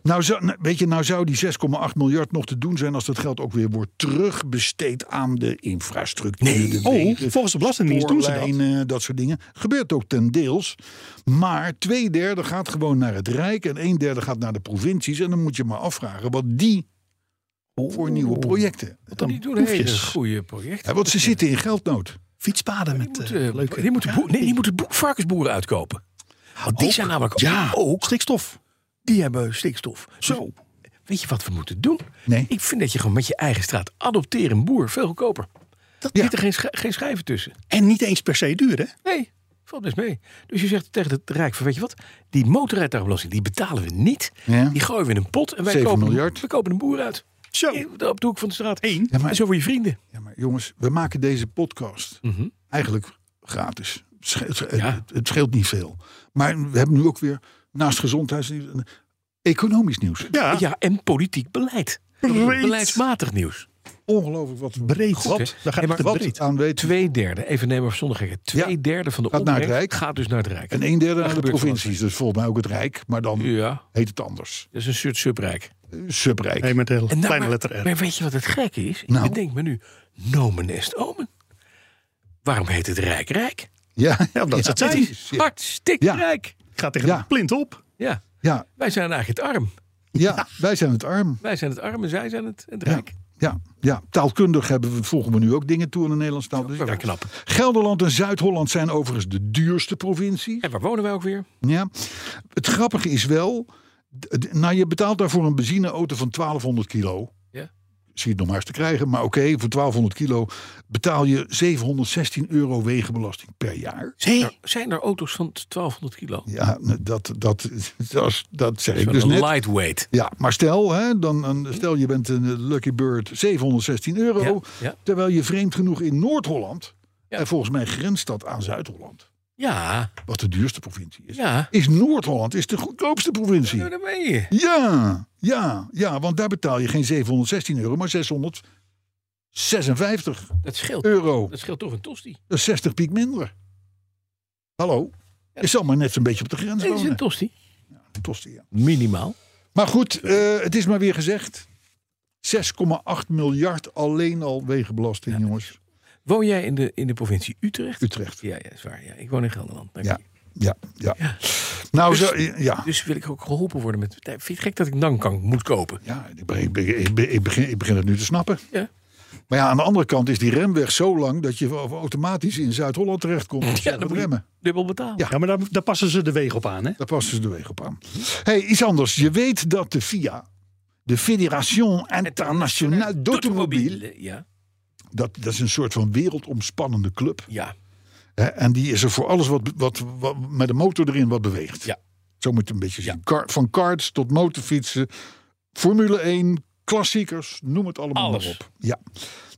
Speaker 2: Nou, zou, nou, weet je, nou zou die 6,8 miljard nog te doen zijn als dat geld ook weer wordt terugbesteed aan de infrastructuur.
Speaker 6: Nee.
Speaker 2: de
Speaker 4: Oh,
Speaker 2: wegen,
Speaker 4: volgens de Belastingdienst doen ze dat.
Speaker 2: spoorlijnen, dat. soort dingen. Gebeurt ook ten deels. Maar twee derde gaat gewoon naar het Rijk en een derde gaat naar de provincies. En dan moet je maar afvragen wat die voor nieuwe projecten.
Speaker 6: Want die doen
Speaker 4: proefjes.
Speaker 6: hele goede projecten.
Speaker 2: Ja, want ze zitten in geldnood.
Speaker 4: Fietspaden met
Speaker 6: Die
Speaker 4: eh,
Speaker 6: moeten,
Speaker 4: leuke
Speaker 6: die moeten, boer- nee, die moeten boer- varkensboeren uitkopen. Want die zijn namelijk ook...
Speaker 4: stikstof.
Speaker 6: Die hebben stikstof. Zo. Weet je wat we moeten doen?
Speaker 2: Nee.
Speaker 6: Ik vind dat je gewoon met je eigen straat adopteer een boer veel goedkoper. Dat
Speaker 2: Ja.
Speaker 6: zit er geen, sch- geen schijven tussen.
Speaker 4: En niet eens per se duur, hè?
Speaker 6: Nee, valt best mee. Dus je zegt tegen het Rijk van, weet je wat? Die motorrijtuigbelasting, die betalen we niet.
Speaker 2: Ja.
Speaker 6: Die gooien we in een pot en wij
Speaker 2: Zeven
Speaker 6: kopen,
Speaker 2: miljard.
Speaker 6: we kopen een boer uit.
Speaker 4: Zo.
Speaker 6: Eh, Op de hoek van de straat.
Speaker 4: Eén.
Speaker 2: Ja, maar-
Speaker 6: En zo voor je vrienden.
Speaker 2: Ja, maar jongens, we maken deze podcast
Speaker 4: Mhm.
Speaker 2: eigenlijk gratis. Het scheelt, het-
Speaker 6: Ja.
Speaker 2: het scheelt niet veel. Maar we hebben nu ook weer naast gezondheidsnieuws en economisch nieuws.
Speaker 4: Ja,
Speaker 6: (laughs) Ja, en politiek beleid.
Speaker 4: Breed.
Speaker 6: Beleidsmatig nieuws.
Speaker 2: Ongelooflijk wat
Speaker 4: breed.
Speaker 6: Goed, hè?
Speaker 4: God, daar gaat
Speaker 6: Hey, maar
Speaker 4: het
Speaker 2: wat
Speaker 4: breed.
Speaker 2: aan weet.
Speaker 6: Twee derde, even nemen we zonder gekken. Twee
Speaker 2: Ja.
Speaker 6: derde van de
Speaker 2: Gaat naar het
Speaker 6: opbrengst
Speaker 2: Rijk.
Speaker 6: gaat dus naar het Rijk.
Speaker 2: En een derde
Speaker 6: Daar
Speaker 2: aan de
Speaker 6: gebeurt van
Speaker 2: provincies. Dus volgens mij ook het Rijk. Maar dan
Speaker 6: Ja,
Speaker 2: heet het anders.
Speaker 6: dat is een soort subrijk.
Speaker 2: Subrijk.
Speaker 4: Nee, met een
Speaker 6: En nou,
Speaker 4: kleine
Speaker 6: maar-
Speaker 4: letter R.
Speaker 6: Maar weet je wat het gek is?
Speaker 2: Nou.
Speaker 6: Ik bedenk me nu, nomen est omen. Waarom heet het Rijk Rijk?
Speaker 2: Ja,
Speaker 4: Ja, omdat ze het
Speaker 6: Het
Speaker 4: zijn.
Speaker 6: is hartstikke
Speaker 2: Ja.
Speaker 6: rijk.
Speaker 4: Gaat tegen
Speaker 2: Ja.
Speaker 4: de plint op.
Speaker 6: Ja,
Speaker 2: ja,
Speaker 6: wij zijn eigenlijk het arm.
Speaker 2: ja, wij zijn het arm.
Speaker 6: Wij zijn het arm en zij zijn het, het
Speaker 2: Ja,
Speaker 6: rijk.
Speaker 2: ja, ja. taalkundig hebben we, voegen we nu ook dingen toe aan de Nederlandse taal. Dus
Speaker 6: Maar wij
Speaker 2: ja.
Speaker 6: knap.
Speaker 2: Gelderland en Zuid-Holland zijn overigens de duurste provincies.
Speaker 6: En waar wonen wij ook weer?
Speaker 2: Ja. Het grappige is wel, d- d- nou je betaalt daarvoor een benzineauto van 1200 kilo.
Speaker 6: Ja.
Speaker 2: Zie je het nog maar eens te krijgen, maar oké, voor 1200 kilo betaal je 716 euro wegenbelasting per jaar.
Speaker 6: Zijn er, Nou, zijn er auto's van 1200 kilo?
Speaker 2: Ja, n- dat, dat, dat, is- dat zeg ik
Speaker 6: Zo'n
Speaker 2: dus net.
Speaker 6: lightweight.
Speaker 2: Ja, maar stel, hè, dan, een- stel je bent een eh, Lucky Bird 716 euro,
Speaker 6: Ja, ja.
Speaker 2: terwijl je vreemd genoeg in Noord-Holland,
Speaker 6: Ja.
Speaker 2: en volgens mij grenst dat aan Zuid-Holland,
Speaker 6: Ja,
Speaker 2: wat de duurste provincie is,
Speaker 6: ja.
Speaker 2: is Noord-Holland is de goedkoopste provincie.
Speaker 6: Nou, daar ben je.
Speaker 2: Ja, ja, ja, want daar betaal je geen 716 euro, maar 656
Speaker 6: Dat scheelt,
Speaker 2: euro.
Speaker 6: dat scheelt toch een tosti.
Speaker 2: Dat is 60 piek minder. Hallo? Je zal maar net zo'n beetje op de grens
Speaker 6: Nee, dat is een
Speaker 2: wonen.
Speaker 6: tosti.
Speaker 2: Tosti, ja.
Speaker 6: Minimaal.
Speaker 2: Maar goed, eh, het is maar weer gezegd. 6,8 miljard alleen al wegenbelasting, jongens.
Speaker 6: Woon jij in de, in de provincie Utrecht?
Speaker 2: Utrecht.
Speaker 6: Ja, ja, is waar. Ja. Ik woon in Gelderland. dank
Speaker 2: Ja.
Speaker 6: je.
Speaker 2: ja, ja. Nou,
Speaker 6: Dus-
Speaker 2: zo, ja.
Speaker 6: Dus wil ik ook geholpen worden met. Vind je het gek dat ik dan kan moet kopen?
Speaker 2: Ja, ik, be- ik, be- ik, be- ik begin, ik begin het nu te snappen.
Speaker 6: Ja.
Speaker 2: Maar ja, aan de andere kant is die remweg zo lang dat je automatisch in Zuid-Holland terechtkomt. om
Speaker 6: Ja,
Speaker 2: zelf
Speaker 6: dan
Speaker 2: te
Speaker 6: moet je
Speaker 2: remmen.
Speaker 6: dubbel betalen.
Speaker 4: Ja, maar daar, daar passen ze de weg op aan, hè?
Speaker 2: Daar past dus de weg op aan. hey, iets anders. Je weet dat de FIA, de Fédération Internationale d'Automobile,
Speaker 6: Ja.
Speaker 2: dat, dat is een soort van wereldomspannende club.
Speaker 6: Ja.
Speaker 2: Hè, en die is er voor alles wat, wat, wat met een motor erin wat beweegt.
Speaker 6: Ja.
Speaker 2: Zo moet je het een beetje
Speaker 6: Ja.
Speaker 2: zien. Kar- van karts tot motorfietsen, Formule 1, klassiekers, noem het allemaal
Speaker 6: Alles.
Speaker 2: maar op. Ja.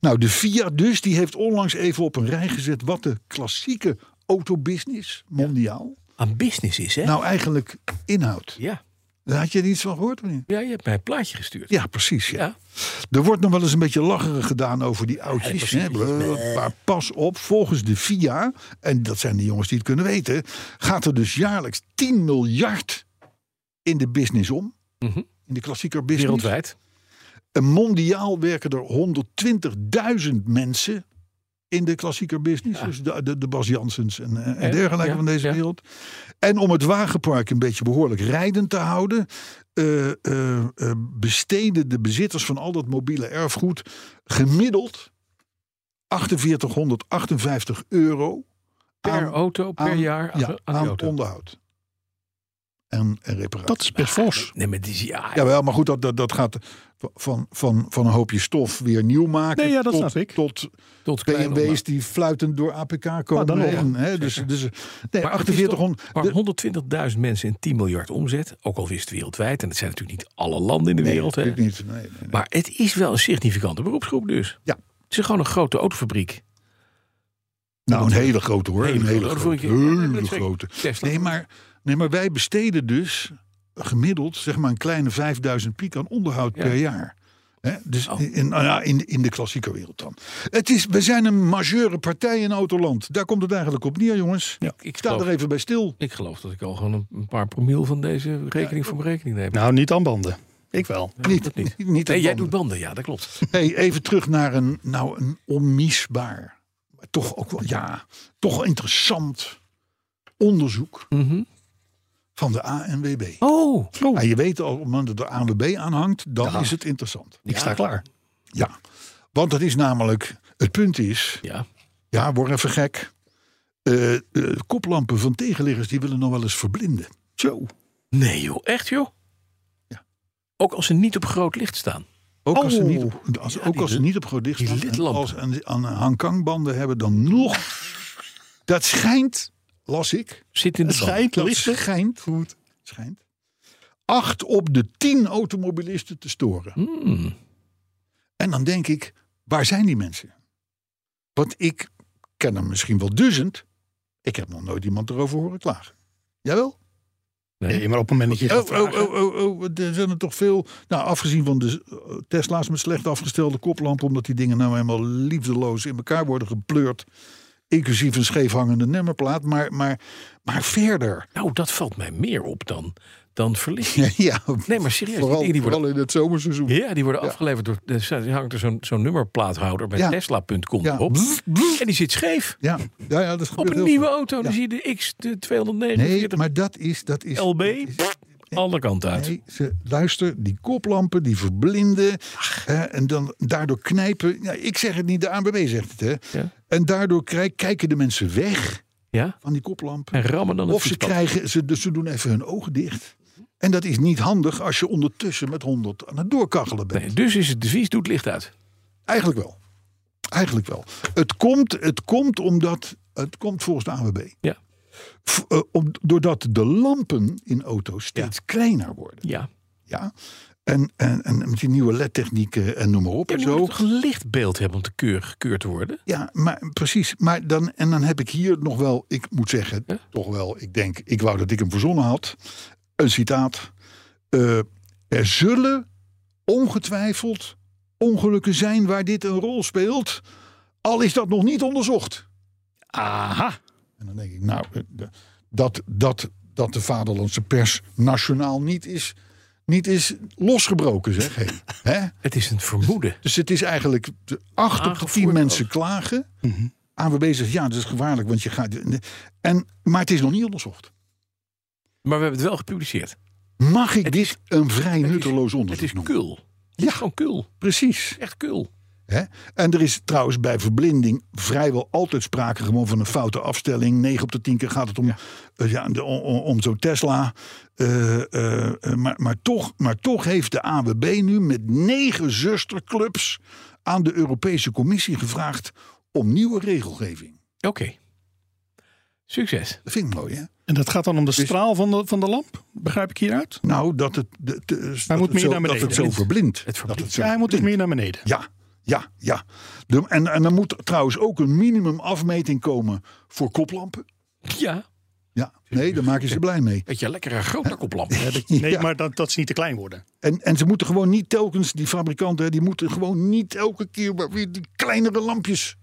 Speaker 2: Nou, de FIA dus, die heeft onlangs even op een rij gezet wat de klassieke autobusiness mondiaal
Speaker 6: Aan business is, hè?
Speaker 2: nou eigenlijk inhoudt.
Speaker 6: Ja.
Speaker 2: Daar had je er iets van gehoord? of niet?
Speaker 6: Ja, je hebt mij een plaatje gestuurd.
Speaker 2: Ja, precies. Ja.
Speaker 6: Ja.
Speaker 2: Er wordt nog wel eens een beetje lacherig gedaan over die oudjes.
Speaker 6: Ja,
Speaker 2: hè.
Speaker 6: precies.
Speaker 2: Bleh, Maar pas op, volgens de FIA, en dat zijn de jongens die het kunnen weten, gaat er dus jaarlijks 10 miljard in de business om.
Speaker 6: Mhm.
Speaker 2: In de klassieker business.
Speaker 6: Wereldwijd.
Speaker 2: En mondiaal werken er 120.000 mensen in de klassieker business. Dus de, de, de Bas Janssens en, eh, en
Speaker 6: Ja,
Speaker 2: dergelijke
Speaker 6: ja,
Speaker 2: van deze
Speaker 6: ja.
Speaker 2: wereld. En om het wagenpark een beetje behoorlijk rijdend te houden... eh, eh, eh, besteden de bezitters van al dat mobiele erfgoed gemiddeld 4858 euro
Speaker 6: Per
Speaker 2: aan-
Speaker 6: auto, per
Speaker 2: aan-
Speaker 6: jaar. Aan,
Speaker 2: ja,
Speaker 6: aan die
Speaker 2: aan
Speaker 6: auto.
Speaker 2: onderhoud. En, en reparatie.
Speaker 4: Dat is best fors.
Speaker 6: Nee, maar die is Ah, ja.
Speaker 2: Jawel, maar goed, dat, dat, dat gaat van, van, van een hoopje stof weer nieuw maken.
Speaker 4: Nee, ja, dat
Speaker 2: tot,
Speaker 4: snap ik.
Speaker 2: Tot
Speaker 6: Tot klein Nou,
Speaker 2: BMW's die fluitend door APK komen.
Speaker 4: dan nog.
Speaker 2: en, hè,
Speaker 6: (laughs)
Speaker 2: dus, dus, nee,
Speaker 6: Maar het is
Speaker 2: 4800.
Speaker 6: Maar 120.000 mensen en 10 miljard omzet. Ook al is het wereldwijd. En dat zijn natuurlijk niet alle landen in de wereld. Hè.
Speaker 2: Natuurlijk niet. Nee, nee, nee.
Speaker 6: Maar het is wel een significante beroepsgroep dus.
Speaker 2: Ja.
Speaker 6: Het is gewoon een grote autofabriek.
Speaker 2: Nou, een hele grote hoor.
Speaker 6: Hele
Speaker 2: een hele grote.
Speaker 6: grote. Voor een keer-
Speaker 2: Hele
Speaker 6: Ja,
Speaker 2: grote.
Speaker 6: Tesla.
Speaker 2: Nee maar, nee, maar wij besteden dus gemiddeld zeg maar een kleine 5000 piek aan onderhoud
Speaker 6: Ja.
Speaker 2: per jaar. Hè, dus
Speaker 6: Oh.
Speaker 2: in, in- nou ja, in, in de klassieke wereld dan. Het is, we zijn een majeure partij in Autoland. Daar komt het eigenlijk op neer, jongens.
Speaker 6: Ja, ik
Speaker 2: ik sta
Speaker 6: geloof-
Speaker 2: er even bij stil.
Speaker 6: Ik geloof dat ik al gewoon een- een paar promil van deze rekening voor mijn rekening neem.
Speaker 4: Nou, niet aan banden. Ik wel.
Speaker 2: Niet,
Speaker 6: dat
Speaker 2: niet. (laughs)
Speaker 6: niet.
Speaker 2: niet
Speaker 6: nee,
Speaker 2: het
Speaker 6: jij
Speaker 2: wandelen.
Speaker 6: doet banden. Ja, dat klopt.
Speaker 2: Hey, even terug naar een, nou, een onmisbaar, maar toch ook wel, ja, toch wel interessant onderzoek
Speaker 6: Mhm.
Speaker 2: van de ANWB.
Speaker 6: Oh,
Speaker 2: Ja, je weet al, op het moment dat de ANWB aanhangt, dan is het interessant.
Speaker 4: Ik sta klaar.
Speaker 2: Ja, want dat is namelijk, het punt is,
Speaker 6: ja.
Speaker 2: ja, word even gek. Eh, eh, koplampen van tegenliggers die willen nog wel eens verblinden.
Speaker 4: Zo.
Speaker 6: Nee joh, echt joh?
Speaker 2: Ja.
Speaker 6: Ook als ze niet op groot licht staan.
Speaker 2: Ook als ze
Speaker 4: Oh.
Speaker 2: niet op, als,
Speaker 6: Ja,
Speaker 2: ook
Speaker 6: die
Speaker 2: als ze
Speaker 6: li-
Speaker 2: niet op groot dicht
Speaker 6: die
Speaker 2: staan en
Speaker 6: lidlampen.
Speaker 2: Als ze aan, aan hangkangbanden hebben, dan nog. Dat schijnt, las ik,
Speaker 6: Zit in de
Speaker 4: Het
Speaker 6: band.
Speaker 4: schijnt
Speaker 2: Dat
Speaker 4: lichter.
Speaker 2: schijnt. Goed. Schijnt. Acht op de tien automobilisten te storen.
Speaker 6: Hmm.
Speaker 2: En dan denk ik, waar zijn die mensen? Want ik ken er misschien wel duizend. Ik heb nog nooit iemand erover horen klagen. Jawel?
Speaker 4: Nee, maar op een moment dat je
Speaker 2: Oh,
Speaker 4: gaat
Speaker 2: oh,
Speaker 4: vragen...
Speaker 2: oh, oh, oh, er zijn er toch veel. Nou, afgezien van de eh, Tesla's met slecht afgestelde koplampen, omdat die dingen nou helemaal liefdeloos in elkaar worden gepleurd. Inclusief een scheefhangende nummerplaat. Maar, maar, maar verder.
Speaker 6: Nou, dat valt mij meer op dan, dan verlichting.
Speaker 2: (laughs) Ja,
Speaker 6: Nee, maar serieus.
Speaker 2: vooral,
Speaker 6: die, dingen die worden,
Speaker 2: vooral in het zomerseizoen.
Speaker 6: ja, die worden afgeleverd door... Er hangt er zo'n zo'n nummerplaathouder met
Speaker 2: Ja.
Speaker 6: Tesla.com
Speaker 2: Ja.
Speaker 6: op.
Speaker 2: Blf, blf.
Speaker 6: En die zit scheef.
Speaker 2: Ja, ja, ja dat
Speaker 6: Op
Speaker 2: gebeurt
Speaker 6: een
Speaker 2: heel
Speaker 6: nieuwe
Speaker 2: veel.
Speaker 6: auto. Dan
Speaker 2: Ja.
Speaker 6: zie je de X, de
Speaker 2: Nee,
Speaker 6: 249
Speaker 2: maar dat is... Dat is
Speaker 6: LB. Alle kanten uit.
Speaker 2: Nee, ze, luister, die koplampen, die verblinden. Hè, en dan daardoor knijpen... Ja, ik zeg het niet, de ANWB zegt het. Hè.
Speaker 6: Ja.
Speaker 2: En daardoor krij- kijken de mensen weg
Speaker 6: Ja?
Speaker 2: van die koplampen.
Speaker 6: En rammen dan het
Speaker 2: Of ze,
Speaker 6: fietspad.
Speaker 2: krijgen, ze, dus ze doen even hun ogen dicht. En dat is niet handig als je ondertussen met 100 aan het doorkachelen bent.
Speaker 6: Nee, dus is het devies, doet licht uit.
Speaker 2: Eigenlijk wel. Eigenlijk wel. Het komt, het komt omdat. Het komt volgens de AWB.
Speaker 6: Ja.
Speaker 2: eh, doordat de lampen in auto's steeds kleiner worden.
Speaker 6: Ja.
Speaker 2: Ja. En, en, en met die nieuwe LED-technieken en noem maar op
Speaker 6: Je
Speaker 2: en
Speaker 6: moet
Speaker 2: zo.
Speaker 6: toch een lichtbeeld hebben om te keur, gekeurd te worden?
Speaker 2: Ja, maar precies. Maar dan, en dan heb ik hier nog wel, ik moet zeggen,
Speaker 6: Ja?
Speaker 2: toch wel, ik denk, ik wou dat ik hem verzonnen had. Een citaat. Eh, er zullen ongetwijfeld ongelukken zijn waar dit een rol speelt, al is dat nog niet onderzocht.
Speaker 4: Aha.
Speaker 2: En dan denk ik, nou, eh, de- dat, dat, dat de vaderlandse pers nationaal niet is, niet is losgebroken, zeg. Hey, hè?
Speaker 6: Het is een vermoeden.
Speaker 2: Dus het is eigenlijk de acht op de tien
Speaker 6: Aangevoerd
Speaker 2: mensen klagen. AWB zegt, ja, dat is gevaarlijk, want je gaat... En, maar het is nog niet onderzocht.
Speaker 6: Maar we hebben het wel gepubliceerd.
Speaker 2: Mag ik
Speaker 6: Het
Speaker 2: dit
Speaker 6: is-
Speaker 2: een vrij
Speaker 6: het is-
Speaker 2: nutteloos
Speaker 6: Het
Speaker 2: onderzoek
Speaker 6: is
Speaker 2: noemen?
Speaker 6: kul. Het is gewoon kul.
Speaker 2: Precies.
Speaker 6: Echt kul.
Speaker 2: Hè? En er is trouwens bij verblinding vrijwel altijd sprake gewoon van een foute afstelling. 9 op de 10 keer gaat het om, eh, ja. de- om, om- om zo'n Tesla. Eh, eh, eh, maar, maar, toch, maar toch heeft de AWB nu met negen zusterclubs aan de Europese Commissie gevraagd om nieuwe regelgeving.
Speaker 6: Oké. Succes.
Speaker 2: Dat vind ik mooi, hè?
Speaker 4: En dat gaat dan om de straal van de, van de lamp? Begrijp ik hieruit?
Speaker 2: Nou, dat het, de- de- dat
Speaker 4: moet
Speaker 2: het
Speaker 4: meer
Speaker 2: zo,
Speaker 4: naar
Speaker 2: dat
Speaker 4: beneden.
Speaker 2: het zo verblindt.
Speaker 6: Het verblindt.
Speaker 2: Dat het zo
Speaker 4: Ja, hij moet dus
Speaker 2: verblindt.
Speaker 4: meer naar beneden.
Speaker 2: Ja, ja, ja. De- en, en er moet trouwens ook een minimum afmeting komen voor koplampen.
Speaker 6: Ja.
Speaker 2: Ja, nee, daar maken ze blij mee.
Speaker 6: Beetje lekkere grote koplamp.
Speaker 4: Nee,
Speaker 2: Ja.
Speaker 4: maar dat, dat ze niet te klein worden.
Speaker 2: En, en ze moeten gewoon niet telkens, die fabrikanten, die moeten gewoon niet elke keer maar weer die kleinere lampjes.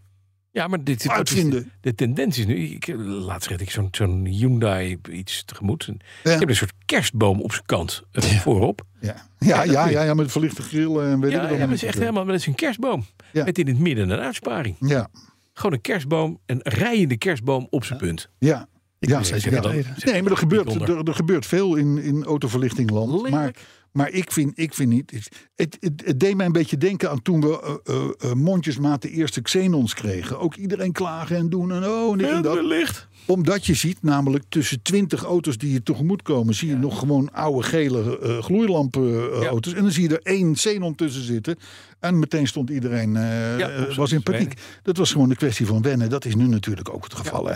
Speaker 6: Ja, maar dit, dat is de,
Speaker 2: Uitvinden.
Speaker 6: de tendens is nu... Ik, laatst reed ik zo'n zo'n Hyundai iets tegemoet. En
Speaker 2: Ja.
Speaker 6: Ik heb een soort kerstboom op zijn kant eh, voorop.
Speaker 2: Ja, ja, ja,
Speaker 6: goed.
Speaker 2: ja, ja met verlichte grillen en weet
Speaker 6: Ja,
Speaker 2: ik wat
Speaker 6: ja, maar het
Speaker 2: allemaal.
Speaker 6: is echt helemaal dat is een kerstboom.
Speaker 2: Ja.
Speaker 6: Met in het midden een uitsparing.
Speaker 2: Ja,
Speaker 6: Gewoon een kerstboom, een rijende kerstboom op zijn punt.
Speaker 2: ja. ja,
Speaker 4: steeds
Speaker 2: ja.
Speaker 4: weer
Speaker 6: Dan-
Speaker 4: Reden.
Speaker 2: Nee, maar er gebeurt,
Speaker 6: Bijzonder.
Speaker 2: er, er gebeurt veel in, in autoverlichtingland. Maar,
Speaker 6: Lelijk.
Speaker 2: maar ik, vind, ik vind niet... Het, het, het, het deed mij een beetje denken aan toen we eh, eh, eh, mondjesmaat de eerste Xenons kregen. Ook iedereen klagen en doen en oh, dit en
Speaker 6: Het
Speaker 2: dat.
Speaker 6: licht.
Speaker 2: Omdat je ziet namelijk tussen 20 auto's die je tegemoet komen... zie je nog gewoon oude gele eh, gloeilampauto's. En dan zie je er één Xenon tussen zitten. En meteen stond iedereen... eh,
Speaker 6: Ja,
Speaker 2: eh,
Speaker 6: absoluut.
Speaker 2: was in paniek. Dat was gewoon een kwestie van wennen. Dat is nu natuurlijk ook het geval, hè.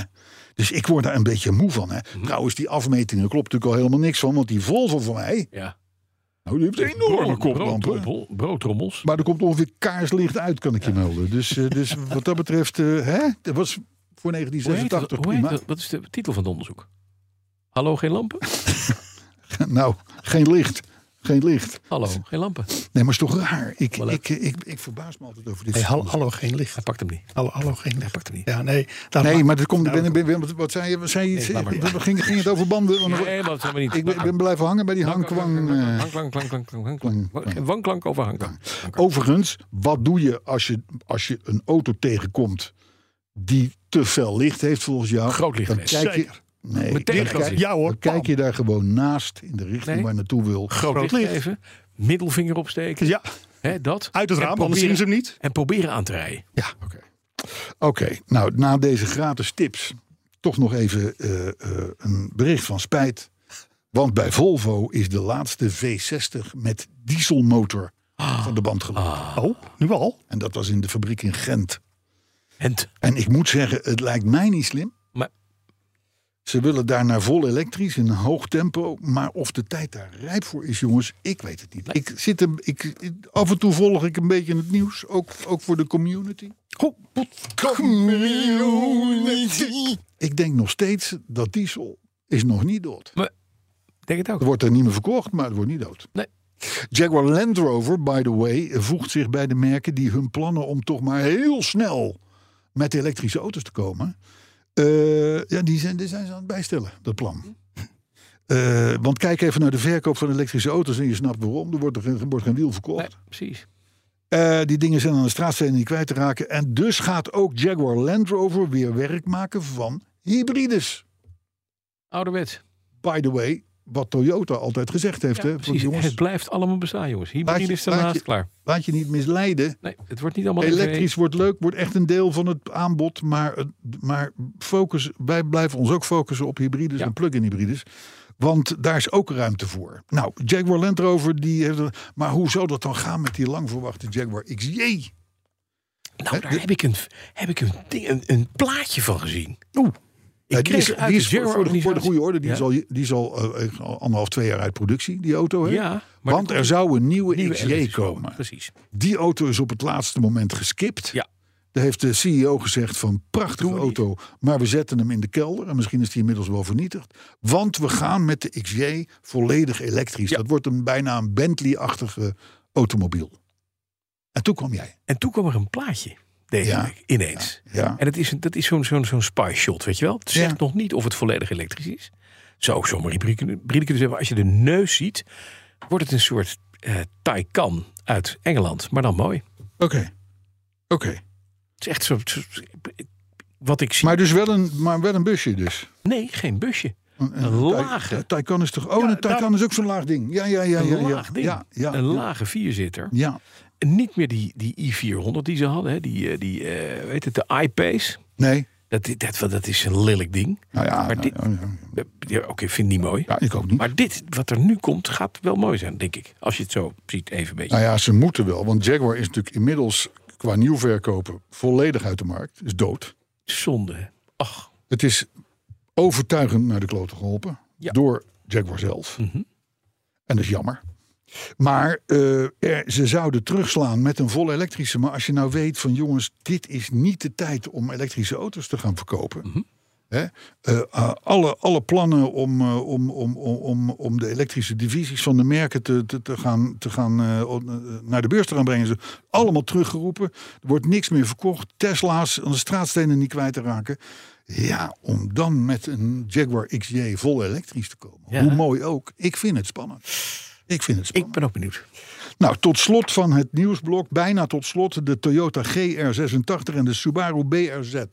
Speaker 2: Dus ik word daar een beetje moe van, hè.
Speaker 6: Mhm.
Speaker 2: Trouwens, die afmetingen klopt natuurlijk al helemaal niks van. Want die Volvo van mij...
Speaker 6: Ja.
Speaker 2: Nou, die heeft enorme koplampen.
Speaker 6: Broodtrommel- Broodtrommels.
Speaker 2: Maar er komt ongeveer kaarslicht uit, kan ik je melden. Dus, eh, dus wat dat betreft... eh, hè, dat was voor
Speaker 6: Hoe heet dat-
Speaker 2: 1986
Speaker 6: hoe heet
Speaker 2: prima.
Speaker 6: dat- Wat is de titel van het onderzoek? Hallo, geen lampen?
Speaker 2: (laughs) Nou, geen licht. Geen licht.
Speaker 6: Hallo, geen lampen.
Speaker 2: Nee, maar is toch raar. Ik,
Speaker 6: Wel
Speaker 2: ik, ik, ik verbaas me altijd over dit.
Speaker 4: Hey,
Speaker 2: soort
Speaker 4: hallo,
Speaker 2: dingen.
Speaker 4: hallo, geen licht.
Speaker 6: Hij pakt hem niet.
Speaker 4: Dus- Hallo, hallo, geen
Speaker 6: Hij
Speaker 4: licht.
Speaker 6: pakt hem niet.
Speaker 4: Ja, nee. daar
Speaker 2: nee,
Speaker 4: maak-
Speaker 2: maar dat komt.
Speaker 4: Nou,
Speaker 2: ben, ben, ben- wat zei je? Wat zei je?
Speaker 6: Nee, laat maar.
Speaker 2: We gingen- ging het over banden. Want
Speaker 6: Nee, maar dat zijn we niet.
Speaker 2: ik ben, ben blijven hangen bij die hangkwang. eh.
Speaker 6: Hangklank, klank, klank, klank, klank, klank. Geen wanklank over hangklank.
Speaker 2: Overigens, wat doe je als je, als je een auto tegenkomt die te fel licht heeft volgens jou?
Speaker 6: Groot licht
Speaker 2: Dan
Speaker 6: heeft.
Speaker 2: kijk je,
Speaker 4: Zeker.
Speaker 2: nee,
Speaker 6: Meteen
Speaker 2: dan
Speaker 6: groot
Speaker 2: kijk,
Speaker 6: licht.
Speaker 4: Ja hoor,
Speaker 2: dan kijk je daar gewoon naast in de richting
Speaker 6: Nee.
Speaker 2: waar je naartoe wil.
Speaker 6: Groot licht
Speaker 4: licht.
Speaker 6: geven. Middelvinger opsteken.
Speaker 4: Ja,
Speaker 6: Hè, dat.
Speaker 4: uit het
Speaker 6: En
Speaker 4: raam, anders zien
Speaker 6: proberen-
Speaker 4: ze hem niet.
Speaker 6: En proberen aan te rijden.
Speaker 2: Ja, oké. Oké, nou na deze gratis tips toch nog even eh, eh, een bericht van spijt. Want bij Volvo is de laatste V60 met dieselmotor van de band gelopen.
Speaker 4: Oh, nu al?
Speaker 2: En dat was in de fabriek in Gent.
Speaker 6: Hent.
Speaker 2: En ik moet zeggen, het lijkt mij niet slim.
Speaker 6: Maar
Speaker 2: Ze willen daar naar vol elektrisch in een hoog tempo. Maar of de tijd daar rijp voor is, jongens, ik weet het niet. Ik zit hem, ik, af en toe volg ik een beetje het nieuws. Ook, ook voor de community.
Speaker 4: Oh,
Speaker 2: Community. Ik denk nog steeds dat diesel is nog niet dood.
Speaker 6: ik denk het ook.
Speaker 2: Het wordt er niet meer verkocht, maar het wordt niet dood.
Speaker 6: Nee.
Speaker 2: Jaguar Land Rover, by the way, voegt zich bij de merken die hun plannen om toch maar heel snel met elektrische auto's te komen. eh, ja, die zijn, die zijn ze aan het bijstellen, dat plan.
Speaker 6: Hm.
Speaker 2: Eh, want kijk even naar de verkoop van elektrische auto's en je snapt waarom. Er wordt, er geen- er wordt geen wiel verkocht.
Speaker 6: Nee, precies.
Speaker 2: Eh, die dingen zijn aan de straatstenen niet kwijt te raken. En dus gaat ook Jaguar Land Rover weer werk maken van hybrides.
Speaker 6: Ouderwets.
Speaker 2: By the way, wat Toyota altijd gezegd heeft. hè?
Speaker 6: Ja,
Speaker 2: Want
Speaker 6: precies.
Speaker 2: jongens,
Speaker 6: Het blijft allemaal bestaan, jongens.
Speaker 2: Laat
Speaker 6: Hybride
Speaker 2: je-
Speaker 6: is daarnaast
Speaker 2: laat je-
Speaker 6: klaar.
Speaker 2: laat je niet misleiden.
Speaker 6: Nee, het wordt niet allemaal EV.
Speaker 2: Elektrisch wordt leuk, wordt echt een deel van het aanbod. Maar, het- maar focus, wij blijven ons ook focussen op hybrides
Speaker 6: Ja.
Speaker 2: en plug-in hybrides. Want daar is ook ruimte voor. Nou, Jaguar Land Rover, die heeft... een- Maar hoe zou dat dan gaan met die lang verwachte Jaguar XJ?
Speaker 6: Nou, daar
Speaker 2: de-
Speaker 6: heb ik, een, heb ik een, ding, een, een plaatje van gezien.
Speaker 2: Oeh.
Speaker 6: Ik
Speaker 2: die is,
Speaker 6: kreeg uit
Speaker 2: die
Speaker 6: de
Speaker 2: is voor, voor de, voor de
Speaker 6: organisatie.
Speaker 2: goede orde, die
Speaker 6: Ja.
Speaker 2: is al, die is al eh, al anderhalf, twee jaar uit productie, die auto. Hè?
Speaker 6: Ja, maar
Speaker 2: Want
Speaker 6: er
Speaker 2: er zou een nieuwe,
Speaker 6: nieuwe
Speaker 2: XJ
Speaker 6: elektrische
Speaker 2: komen.
Speaker 6: Precies.
Speaker 2: Die auto is op het laatste moment geskipt.
Speaker 6: Ja.
Speaker 2: Daar heeft de CEO gezegd van prachtige
Speaker 6: Doen we niet.
Speaker 2: auto, maar we zetten hem in de kelder. En misschien is die inmiddels wel vernietigd. Want we gaan met de XJ volledig elektrisch.
Speaker 6: Ja.
Speaker 2: Dat wordt een bijna een Bentley-achtige automobiel. En toen kwam jij.
Speaker 6: En toen kwam er een plaatje deze
Speaker 2: Ja.
Speaker 6: week, ineens.
Speaker 2: Ja.
Speaker 6: En dat is, een- dat is zo'n zo'n zo'n spy shot, weet je wel. Het zegt
Speaker 2: Ja.
Speaker 6: nog niet of het volledig elektrisch is. Zou ook zomaar hybride kunnen hybride kunnen zijn. Maar als je de neus ziet, wordt het een soort eh Taycan uit Engeland. Maar dan mooi.
Speaker 2: Oké. Oké.
Speaker 6: Het is echt zo... zo- zo-
Speaker 3: wat ik zie.
Speaker 2: Maar dus wel een, maar wel een busje dus.
Speaker 3: nee, geen busje. Een,
Speaker 2: Ty-
Speaker 3: lage,
Speaker 2: Ty- Taycan is toch... Oh, een Taycan
Speaker 3: daarom-
Speaker 2: is ook zo'n laag ding. Ja, ja, ja.
Speaker 3: een
Speaker 2: ja, ja.
Speaker 3: laag ding.
Speaker 2: Ja, ja,
Speaker 3: een
Speaker 2: ja.
Speaker 3: lage vierzitter.
Speaker 2: Ja.
Speaker 3: En Niet meer die, die i400 die ze hadden. Hè. Die, eh, die eh, weet het, de iPace.
Speaker 2: Nee.
Speaker 3: Dat, dat, dat is een lelijk ding.
Speaker 2: Nou ja,
Speaker 3: Maar
Speaker 2: nou,
Speaker 3: dit-
Speaker 2: ja, ja.
Speaker 3: Ja, Oké, vind ik niet mooi.
Speaker 2: Ja, ik ook niet.
Speaker 3: Maar dit, wat er nu komt, gaat wel mooi zijn, denk ik. Als je het zo ziet, even een beetje.
Speaker 2: Nou ja, ze moeten wel. Want Jaguar is natuurlijk inmiddels qua nieuw verkopen volledig uit de markt. Is dood.
Speaker 3: Zonde. Ah. Ach,
Speaker 2: Het is overtuigend naar de kloten geholpen.
Speaker 3: Ja.
Speaker 2: Door Jaguar zelf. En dat is jammer. Maar eh, er- ze zouden terugslaan met een volle elektrische. Maar als je nou weet van jongens, dit is niet de tijd om elektrische auto's te gaan verkopen. Hè? Eh, eh, alle, alle plannen om, eh, om, om, om, om, om de elektrische divisies van de merken te, te, te gaan, te gaan eh, op- eh, naar de beurs te gaan brengen. Ze allemaal teruggeroepen. Er wordt niks meer verkocht. Tesla's aan de straatstenen niet kwijt te raken. Ja, om dan met een Jaguar XJ vol elektrisch te komen.
Speaker 3: Ja.
Speaker 2: Hoe mooi ook. Ik vind het spannend. Ik vind het
Speaker 3: ik
Speaker 2: spannend.
Speaker 3: ben ook benieuwd.
Speaker 2: Nou, tot slot van het nieuwsblok, bijna tot slot, de Toyota GR86 en de Subaru BRZ. Weet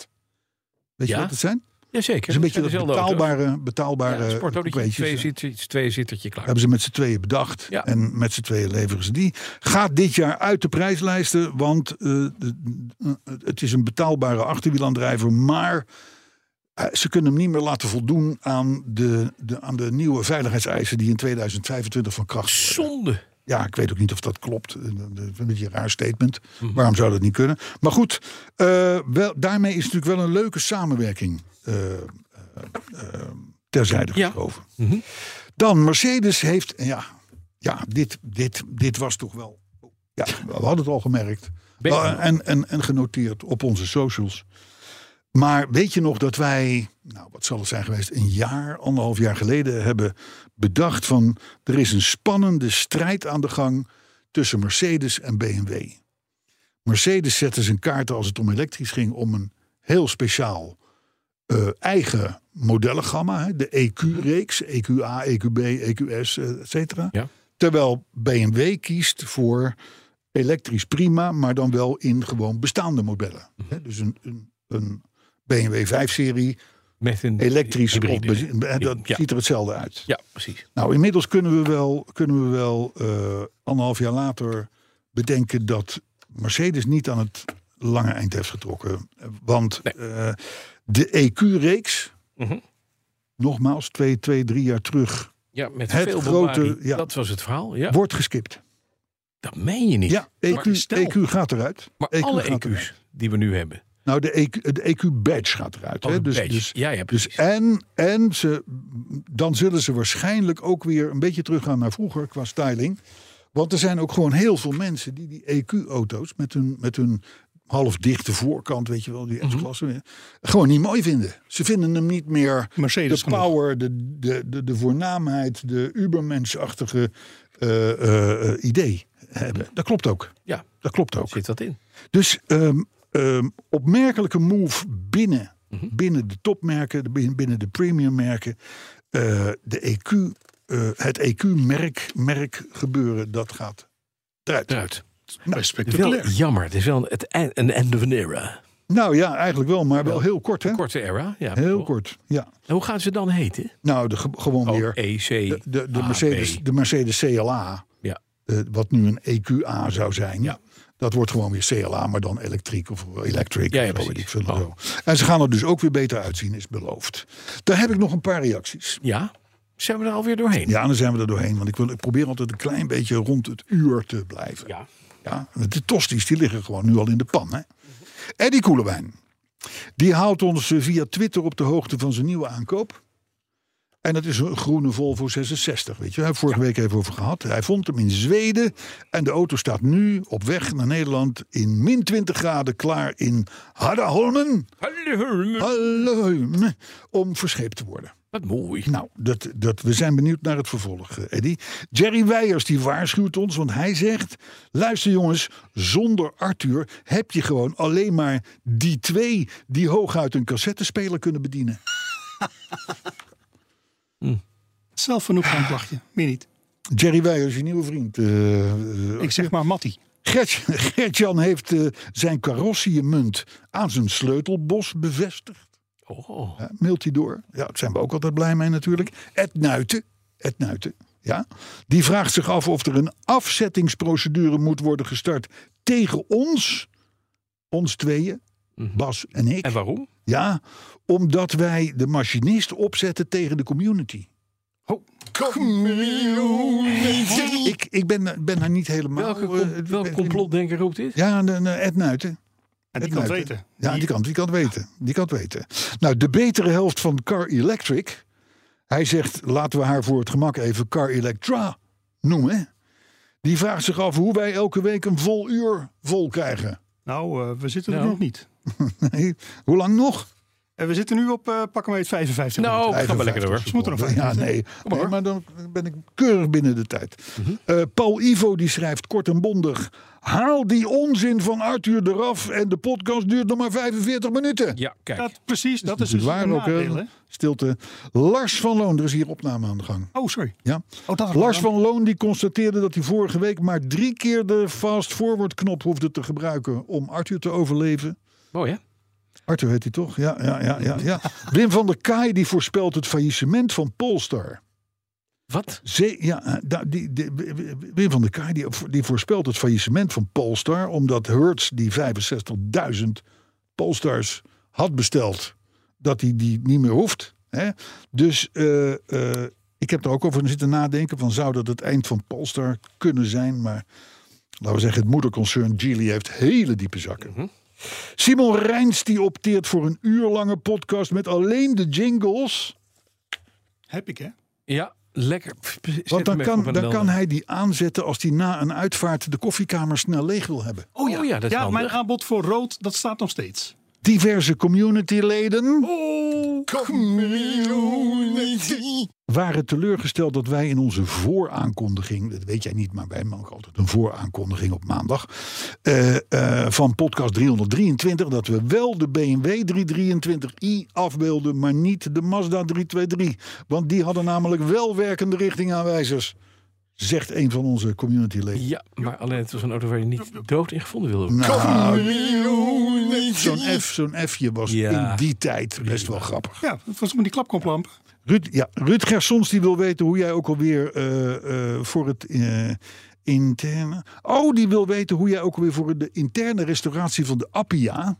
Speaker 2: je
Speaker 3: Ja?
Speaker 2: wat het zijn?
Speaker 3: Jazeker.
Speaker 2: Het is een beetje dat
Speaker 3: dezelfde auto's.
Speaker 2: betaalbare, betaalbare
Speaker 3: Ja,
Speaker 2: ja,
Speaker 3: sportautootje, twee zittertje, twee zittertje klaar.
Speaker 2: hebben ze met z'n tweeën bedacht.
Speaker 3: Ja.
Speaker 2: En met z'n tweeën leveren ze die. Gaat dit jaar uit de prijslijsten. Want eh, de- eh, het is een betaalbare achterwielaandrijver. Maar eh, ze kunnen hem niet meer laten voldoen aan de, de, aan de nieuwe veiligheidseisen. die in 2025 van kracht worden.
Speaker 3: Zonde.
Speaker 2: Ja, ik weet ook niet of dat klopt. Eh, dat is Een beetje een raar statement. Waarom zou dat niet kunnen? Maar goed, eh, wel, daarmee is natuurlijk wel een leuke samenwerking eh, eh, eh, terzijde
Speaker 3: Ja.
Speaker 2: geschoven. Dan, Mercedes heeft... Ja, ja dit, dit, dit was toch wel... Ja, we hadden het al gemerkt.
Speaker 3: Ben-
Speaker 2: Wel, en, en, en genoteerd op onze socials. Maar weet je nog dat wij, nou wat zal het zijn geweest, een jaar, anderhalf jaar geleden hebben bedacht van er is een spannende strijd aan de gang tussen Mercedes en BMW. Mercedes zette zijn kaarten als het om elektrisch ging om een heel speciaal eh, eigen modellengamma, hè, de E EQ-reeks, EQA, EQB, EQS, eh, et cetera.
Speaker 3: Ja.
Speaker 2: Terwijl BMW kiest voor elektrisch prima, maar dan wel in gewoon bestaande modellen. Hè, dus een, een, een BMW 5-serie,
Speaker 3: Met een
Speaker 2: elektrisch, op
Speaker 3: hybride.
Speaker 2: benzine, eh, dat
Speaker 3: Ja.
Speaker 2: ziet er hetzelfde uit.
Speaker 3: Ja, precies.
Speaker 2: Nou, inmiddels kunnen we wel, kunnen we wel eh, anderhalf jaar later bedenken dat Mercedes niet aan het lange eind heeft getrokken. Want eh, de EQ-reeks,
Speaker 3: Mhm.
Speaker 2: nogmaals, twee, twee, drie jaar terug,
Speaker 3: Ja, met
Speaker 2: Het
Speaker 3: veel
Speaker 2: grote-
Speaker 3: bombarie.
Speaker 2: ja.
Speaker 3: Dat was het verhaal. Ja, E
Speaker 2: wordt geskipt.
Speaker 3: dat meen je niet.
Speaker 2: Ja, E EQ,
Speaker 3: Maar stel-
Speaker 2: EQ gaat eruit.
Speaker 3: Maar
Speaker 2: EQ
Speaker 3: alle E
Speaker 2: gaat eruit.
Speaker 3: EQ's die we nu hebben.
Speaker 2: Nou, de EQ, de EQ-badge gaat eruit.
Speaker 3: Oh,
Speaker 2: hè?
Speaker 3: de
Speaker 2: Dus,
Speaker 3: badge.
Speaker 2: dus,
Speaker 3: ja, ja,
Speaker 2: dus
Speaker 3: precies.
Speaker 2: en, en ze, dan zullen ze waarschijnlijk ook weer een beetje teruggaan naar vroeger qua styling. Want er zijn ook gewoon heel veel mensen die die EQ-auto's met hun, met hun half dichte voorkant, weet je wel,
Speaker 3: Mhm.
Speaker 2: die S-klasse, gewoon niet mooi vinden. Ze vinden hem niet meer
Speaker 4: Mercedes
Speaker 2: de
Speaker 4: genoeg.
Speaker 2: power, de, de, de, de voornaamheid, de ubermensachtige eh, eh, eh, idee hebben. Dat klopt ook.
Speaker 3: ja,
Speaker 2: Dat klopt ook.
Speaker 3: zit dat in.
Speaker 2: Dus ehm, ehm, opmerkelijke move binnen,
Speaker 3: Mhm.
Speaker 2: binnen de topmerken, de- binnen, binnen de premiummerken. Eh, de EQ, eh, het EQ-merk merk gebeuren, dat gaat eruit.
Speaker 3: Eruit.
Speaker 2: Nou,
Speaker 3: Wel jammer. Het is wel het e- een end of an era.
Speaker 2: nou ja, eigenlijk wel, maar wel heel kort hè.
Speaker 3: Korte era. Ja,
Speaker 2: Heel
Speaker 3: toch?
Speaker 2: kort, ja.
Speaker 3: En hoe gaan ze dan heten?
Speaker 2: Nou, de, ge- gewoon
Speaker 3: Oh,
Speaker 2: weer
Speaker 3: EC.
Speaker 2: de, de, de,
Speaker 3: AB.
Speaker 2: Mercedes, de Mercedes CLA,
Speaker 3: Ja.
Speaker 2: eh, wat nu een EQA zou zijn.
Speaker 3: Ja.
Speaker 2: Dat wordt gewoon weer CLA, maar dan elektriek of eh, electric.
Speaker 3: Ja, ja,
Speaker 2: of zo, weet
Speaker 3: precies.
Speaker 2: ik veel
Speaker 3: Oh.
Speaker 2: zo. En ze gaan er dus ook weer beter uitzien, is beloofd. Daar heb ik nog een paar reacties.
Speaker 3: Ja, zijn we er alweer doorheen?
Speaker 2: Ja, dan zijn we er doorheen. Want ik, wil, ik probeer altijd een klein beetje rond het uur te blijven.
Speaker 3: Ja.
Speaker 2: Ja, want de tosties die liggen gewoon nu al in de pan. Hè? Eddie Koelewijn. Die houdt ons eh, via Twitter op de hoogte van zijn nieuwe aankoop. En dat is een groene Volvo 66, weet je. Daar hebben we vorige week even over gehad. Hij vond hem in Zweden. En de auto staat nu op weg naar Nederland in min 20 graden klaar in Haddaholmen. Haddaholmen. Om verscheept te worden.
Speaker 3: Wat mooi.
Speaker 2: Nou, dat, dat, we zijn benieuwd naar het vervolg, eh, Eddy. Jerry Weijers die waarschuwt ons, want hij zegt... luister jongens, zonder Arthur heb je gewoon alleen maar die twee... die hooguit een cassettespeler kunnen bedienen.
Speaker 4: Zelf genoeg aan het lachje, meer niet.
Speaker 2: Jerry Weijers, je nieuwe vriend. eh, eh,
Speaker 4: Ik zeg maar Matty.
Speaker 2: Gert- Gert-Jan heeft eh, zijn carrossiemunt aan zijn sleutelbos bevestigd.
Speaker 3: Oh,
Speaker 2: Ja, mailt hij door. Ja, daar zijn we ook altijd blij mee natuurlijk. Ed Nuiten. Ed Nuiten. Ja. Die vraagt zich af of er een afzettingsprocedure moet worden gestart tegen ons. Ons tweeën. Bas en ik.
Speaker 3: Mhm. en waarom?
Speaker 2: Ja, omdat wij de machinist opzetten tegen de community. community. Ik, ik ben, ben daar niet helemaal...
Speaker 3: Welke,
Speaker 2: eh,
Speaker 3: com-
Speaker 2: ben-
Speaker 3: welk complotdenker roept dit?
Speaker 2: Ja, de- de Ed Nuiten.
Speaker 4: En die
Speaker 2: Het
Speaker 4: kan het
Speaker 2: leuke.
Speaker 4: weten.
Speaker 2: Ja, die kan, die kan het weten. Die kan het weten. Nou, de betere helft van Car Electric. Hij zegt, laten we haar voor het gemak even Car Electra noemen. Die vraagt zich af hoe wij elke week een vol uur vol krijgen. (laughs)
Speaker 4: Nou, eh, we zitten er
Speaker 3: Nou.
Speaker 4: nog niet.
Speaker 2: Nee, hoe lang nog?
Speaker 4: En we zitten nu op eh pakken we het 55 minuten.
Speaker 3: Nou, ga maar lekker door.
Speaker 2: 55
Speaker 4: Ze moeten nog
Speaker 2: seconden. Ja, nee. nee. Maar dan ben ik keurig binnen de tijd.
Speaker 4: Mhm.
Speaker 2: Eh, Paul Ivo die schrijft kort en bondig. Haal die onzin van Arthur eraf en de podcast duurt nog maar 45 minuten.
Speaker 3: Ja, kijk.
Speaker 4: Dat, precies, dat is dus
Speaker 2: Dus
Speaker 4: waar
Speaker 2: waar ook
Speaker 4: nadeel,
Speaker 2: een
Speaker 4: hè?
Speaker 2: stilte. Lars van Loon, er is hier opname aan de gang.
Speaker 4: Oh, sorry.
Speaker 2: Ja.
Speaker 4: Oh, dat
Speaker 2: Lars van Loon die constateerde dat hij vorige week maar drie keer de fast forward knop hoefde te gebruiken om Arthur te overleven.
Speaker 3: Mooi hè?
Speaker 2: Arthur heet hij toch? Ja, ja, ja, ja.
Speaker 4: (laughs)
Speaker 2: ja. Wim van der Kaai die voorspelt het faillissement van Polestar.
Speaker 3: Wat?
Speaker 2: Ze, ja, eh, da- die, die- Wim van der Kaai die, die voorspelt het faillissement van Polestar... omdat Hertz die 65.000 Polestars had besteld... dat hij die niet meer hoeft. Hè? Dus eh, eh, ik heb er ook over zitten nadenken... van zou dat het eind van Polestar kunnen zijn? Maar laten we zeggen, het moederconcern Geely heeft hele diepe zakken. Simon Rijns die opteert voor een uurlange podcast... met alleen de jingles...
Speaker 4: Heb ik, hè?
Speaker 3: Ja, lekker. Pff, pff, zet
Speaker 2: Want dan
Speaker 3: hem even
Speaker 2: kan,
Speaker 3: op een
Speaker 2: dan
Speaker 3: helder.
Speaker 2: kan hij die aanzetten als hij na een uitvaart de koffiekamer snel leeg wil hebben.
Speaker 3: Oh ja, dat is
Speaker 4: Ja,
Speaker 3: handig.
Speaker 4: mijn aanbod voor rood, dat staat nog steeds.
Speaker 2: Diverse communityleden waren teleurgesteld dat wij in onze vooraankondiging, dat weet jij niet, maar wij maken altijd een vooraankondiging op maandag, eh, eh, van podcast 323, dat we wel de BMW 323i afbeelden, maar niet de Mazda 323. Want die hadden namelijk wel werkende richtingaanwijzers, zegt een van onze communityleden.
Speaker 3: Ja, maar alleen het was een auto waar je niet dood in gevonden wilde worden.
Speaker 2: Nou, zo'n F, zo'n F'je was
Speaker 3: Ja.
Speaker 2: in die tijd best wel grappig.
Speaker 4: Ja, dat was met die klapkomplamp.
Speaker 2: Ruud, ja, Ruud Gersons die wil weten hoe jij ook alweer eh, eh, voor het eh, interne... Oh, die wil weten hoe jij ook alweer voor de interne restauratie van de Appia...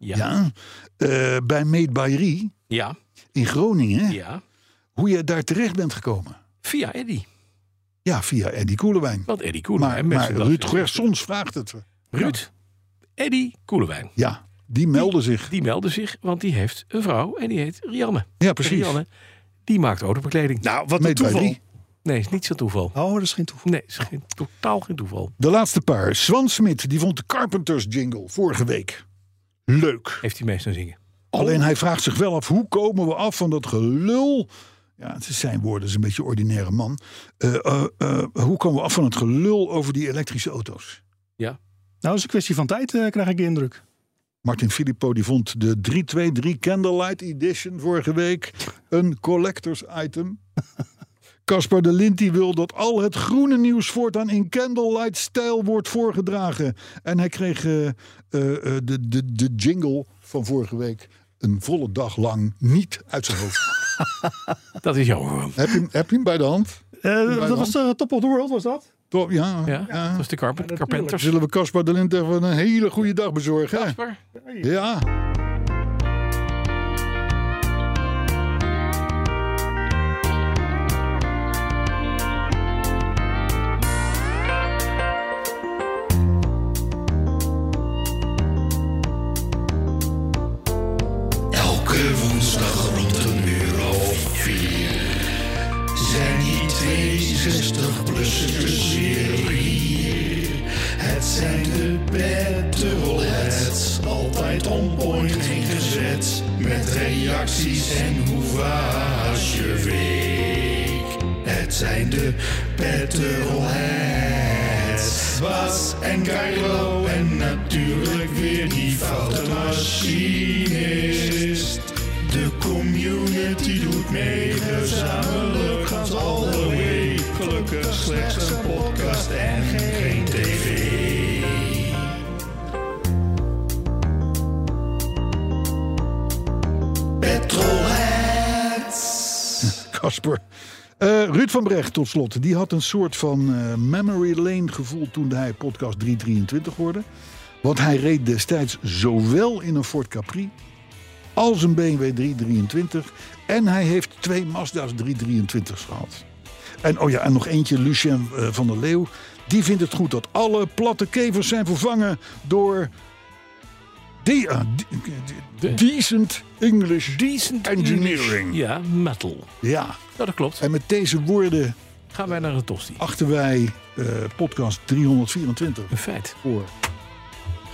Speaker 3: Ja. Ja.
Speaker 2: Ja, eh, bij Meet Bayri
Speaker 3: ja.
Speaker 2: in Groningen... hoe jij daar terecht bent gekomen.
Speaker 3: Via Eddy.
Speaker 2: Ja, via Eddie Koelewijn.
Speaker 3: Want Eddy Koelewijn.
Speaker 2: Maar, maar
Speaker 3: mensen dachten-
Speaker 2: Ruud Gersons vraagt het.
Speaker 3: Ruud, Eddy Koelewijn.
Speaker 2: Ja, die melden zich.
Speaker 3: Die meldde zich, want die heeft een vrouw en die heet Rianne.
Speaker 2: Ja, precies.
Speaker 3: Rianne, die maakt autobekleding.
Speaker 4: Nou, wat een
Speaker 2: Meet
Speaker 4: toeval.
Speaker 2: Bayri.
Speaker 3: Nee, is niet zo'n toeval.
Speaker 4: Oh, dat is geen toeval.
Speaker 3: Nee, is geen, totaal geen toeval.
Speaker 2: De laatste paar. Swan Smit, die vond de Carpenters jingle vorige week leuk.
Speaker 3: Heeft hij meestal zingen.
Speaker 2: Alleen hij vraagt zich wel af, hoe komen we af van dat gelul... Ja, het is zijn woorden, het is een beetje een ordinaire man. Eh, eh, eh, hoe komen we af van het gelul over die elektrische auto's?
Speaker 4: Nou, is een kwestie van tijd, eh, krijg ik de indruk.
Speaker 2: Martin Filippo die vond de 323 Candlelight Edition vorige week een collectors item. Caspar de Lint die wil dat al het groene nieuws voortaan in candlelight-stijl wordt voorgedragen. En hij kreeg eh, eh, eh, de, de, de jingle van vorige week een volle dag lang niet uit zijn hoofd.
Speaker 3: Dat is jouw... eh,
Speaker 2: heb, je, hem- heb je hem bij de hand?
Speaker 4: Eh,
Speaker 2: dan?
Speaker 4: dat was de Top of the World, was dat?
Speaker 2: Toch, ja.
Speaker 3: Ja, dat is de carpent, Carpenters.
Speaker 2: Zullen we Caspar de Lint even een hele goede dag bezorgen? hè?
Speaker 3: Jasper?
Speaker 2: Ja.
Speaker 6: Elke woensdag rond een uur of vier zijn die twee 60-plussers weer hier. Het zijn de petrolheads, altijd on point, geen gezet. Met reacties en hoe was je week? Het zijn de petrolheads, Bas en Cairo en natuurlijk weer die foute machinist. De community doet mee, gezamenlijk gaan ze alle way. Gelukkig slechts een podcast en geen tv.
Speaker 2: Casper. Eh, Ruud van Brecht, tot slot. Die had een soort van eh, memory lane gevoel toen hij podcast 323 hoorde. Want hij reed destijds zowel in een Ford Capri als een BMW 323. En hij heeft twee Mazda's 323's gehad. En oh ja, en nog eentje, Lucien eh, van der Leeuw. Die vindt het goed dat alle platte kevers zijn vervangen door... De, ah, de- de- decent English
Speaker 3: Decent
Speaker 2: Engineering.
Speaker 3: Ja, metal.
Speaker 2: Ja,
Speaker 3: Ja, dat klopt.
Speaker 2: en met deze woorden
Speaker 3: Gaan wij naar een tosti.
Speaker 2: achten wij eh, podcast 324
Speaker 3: Een feit.
Speaker 2: voor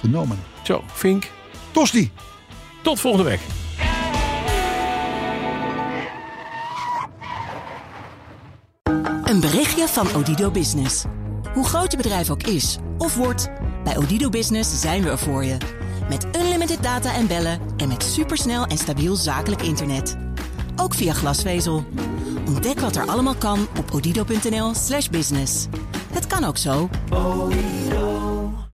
Speaker 2: genomen.
Speaker 3: Zo, Fink.
Speaker 2: Tosti!
Speaker 3: Tot volgende week.
Speaker 8: Een berichtje van Odido Business. Hoe groot je bedrijf ook is of wordt, bij Odido Business zijn we er voor je. Met unlimited data en bellen en met supersnel en stabiel zakelijk internet. Ook via glasvezel. Ontdek wat er allemaal kan op odido.nl/business. Het kan ook zo.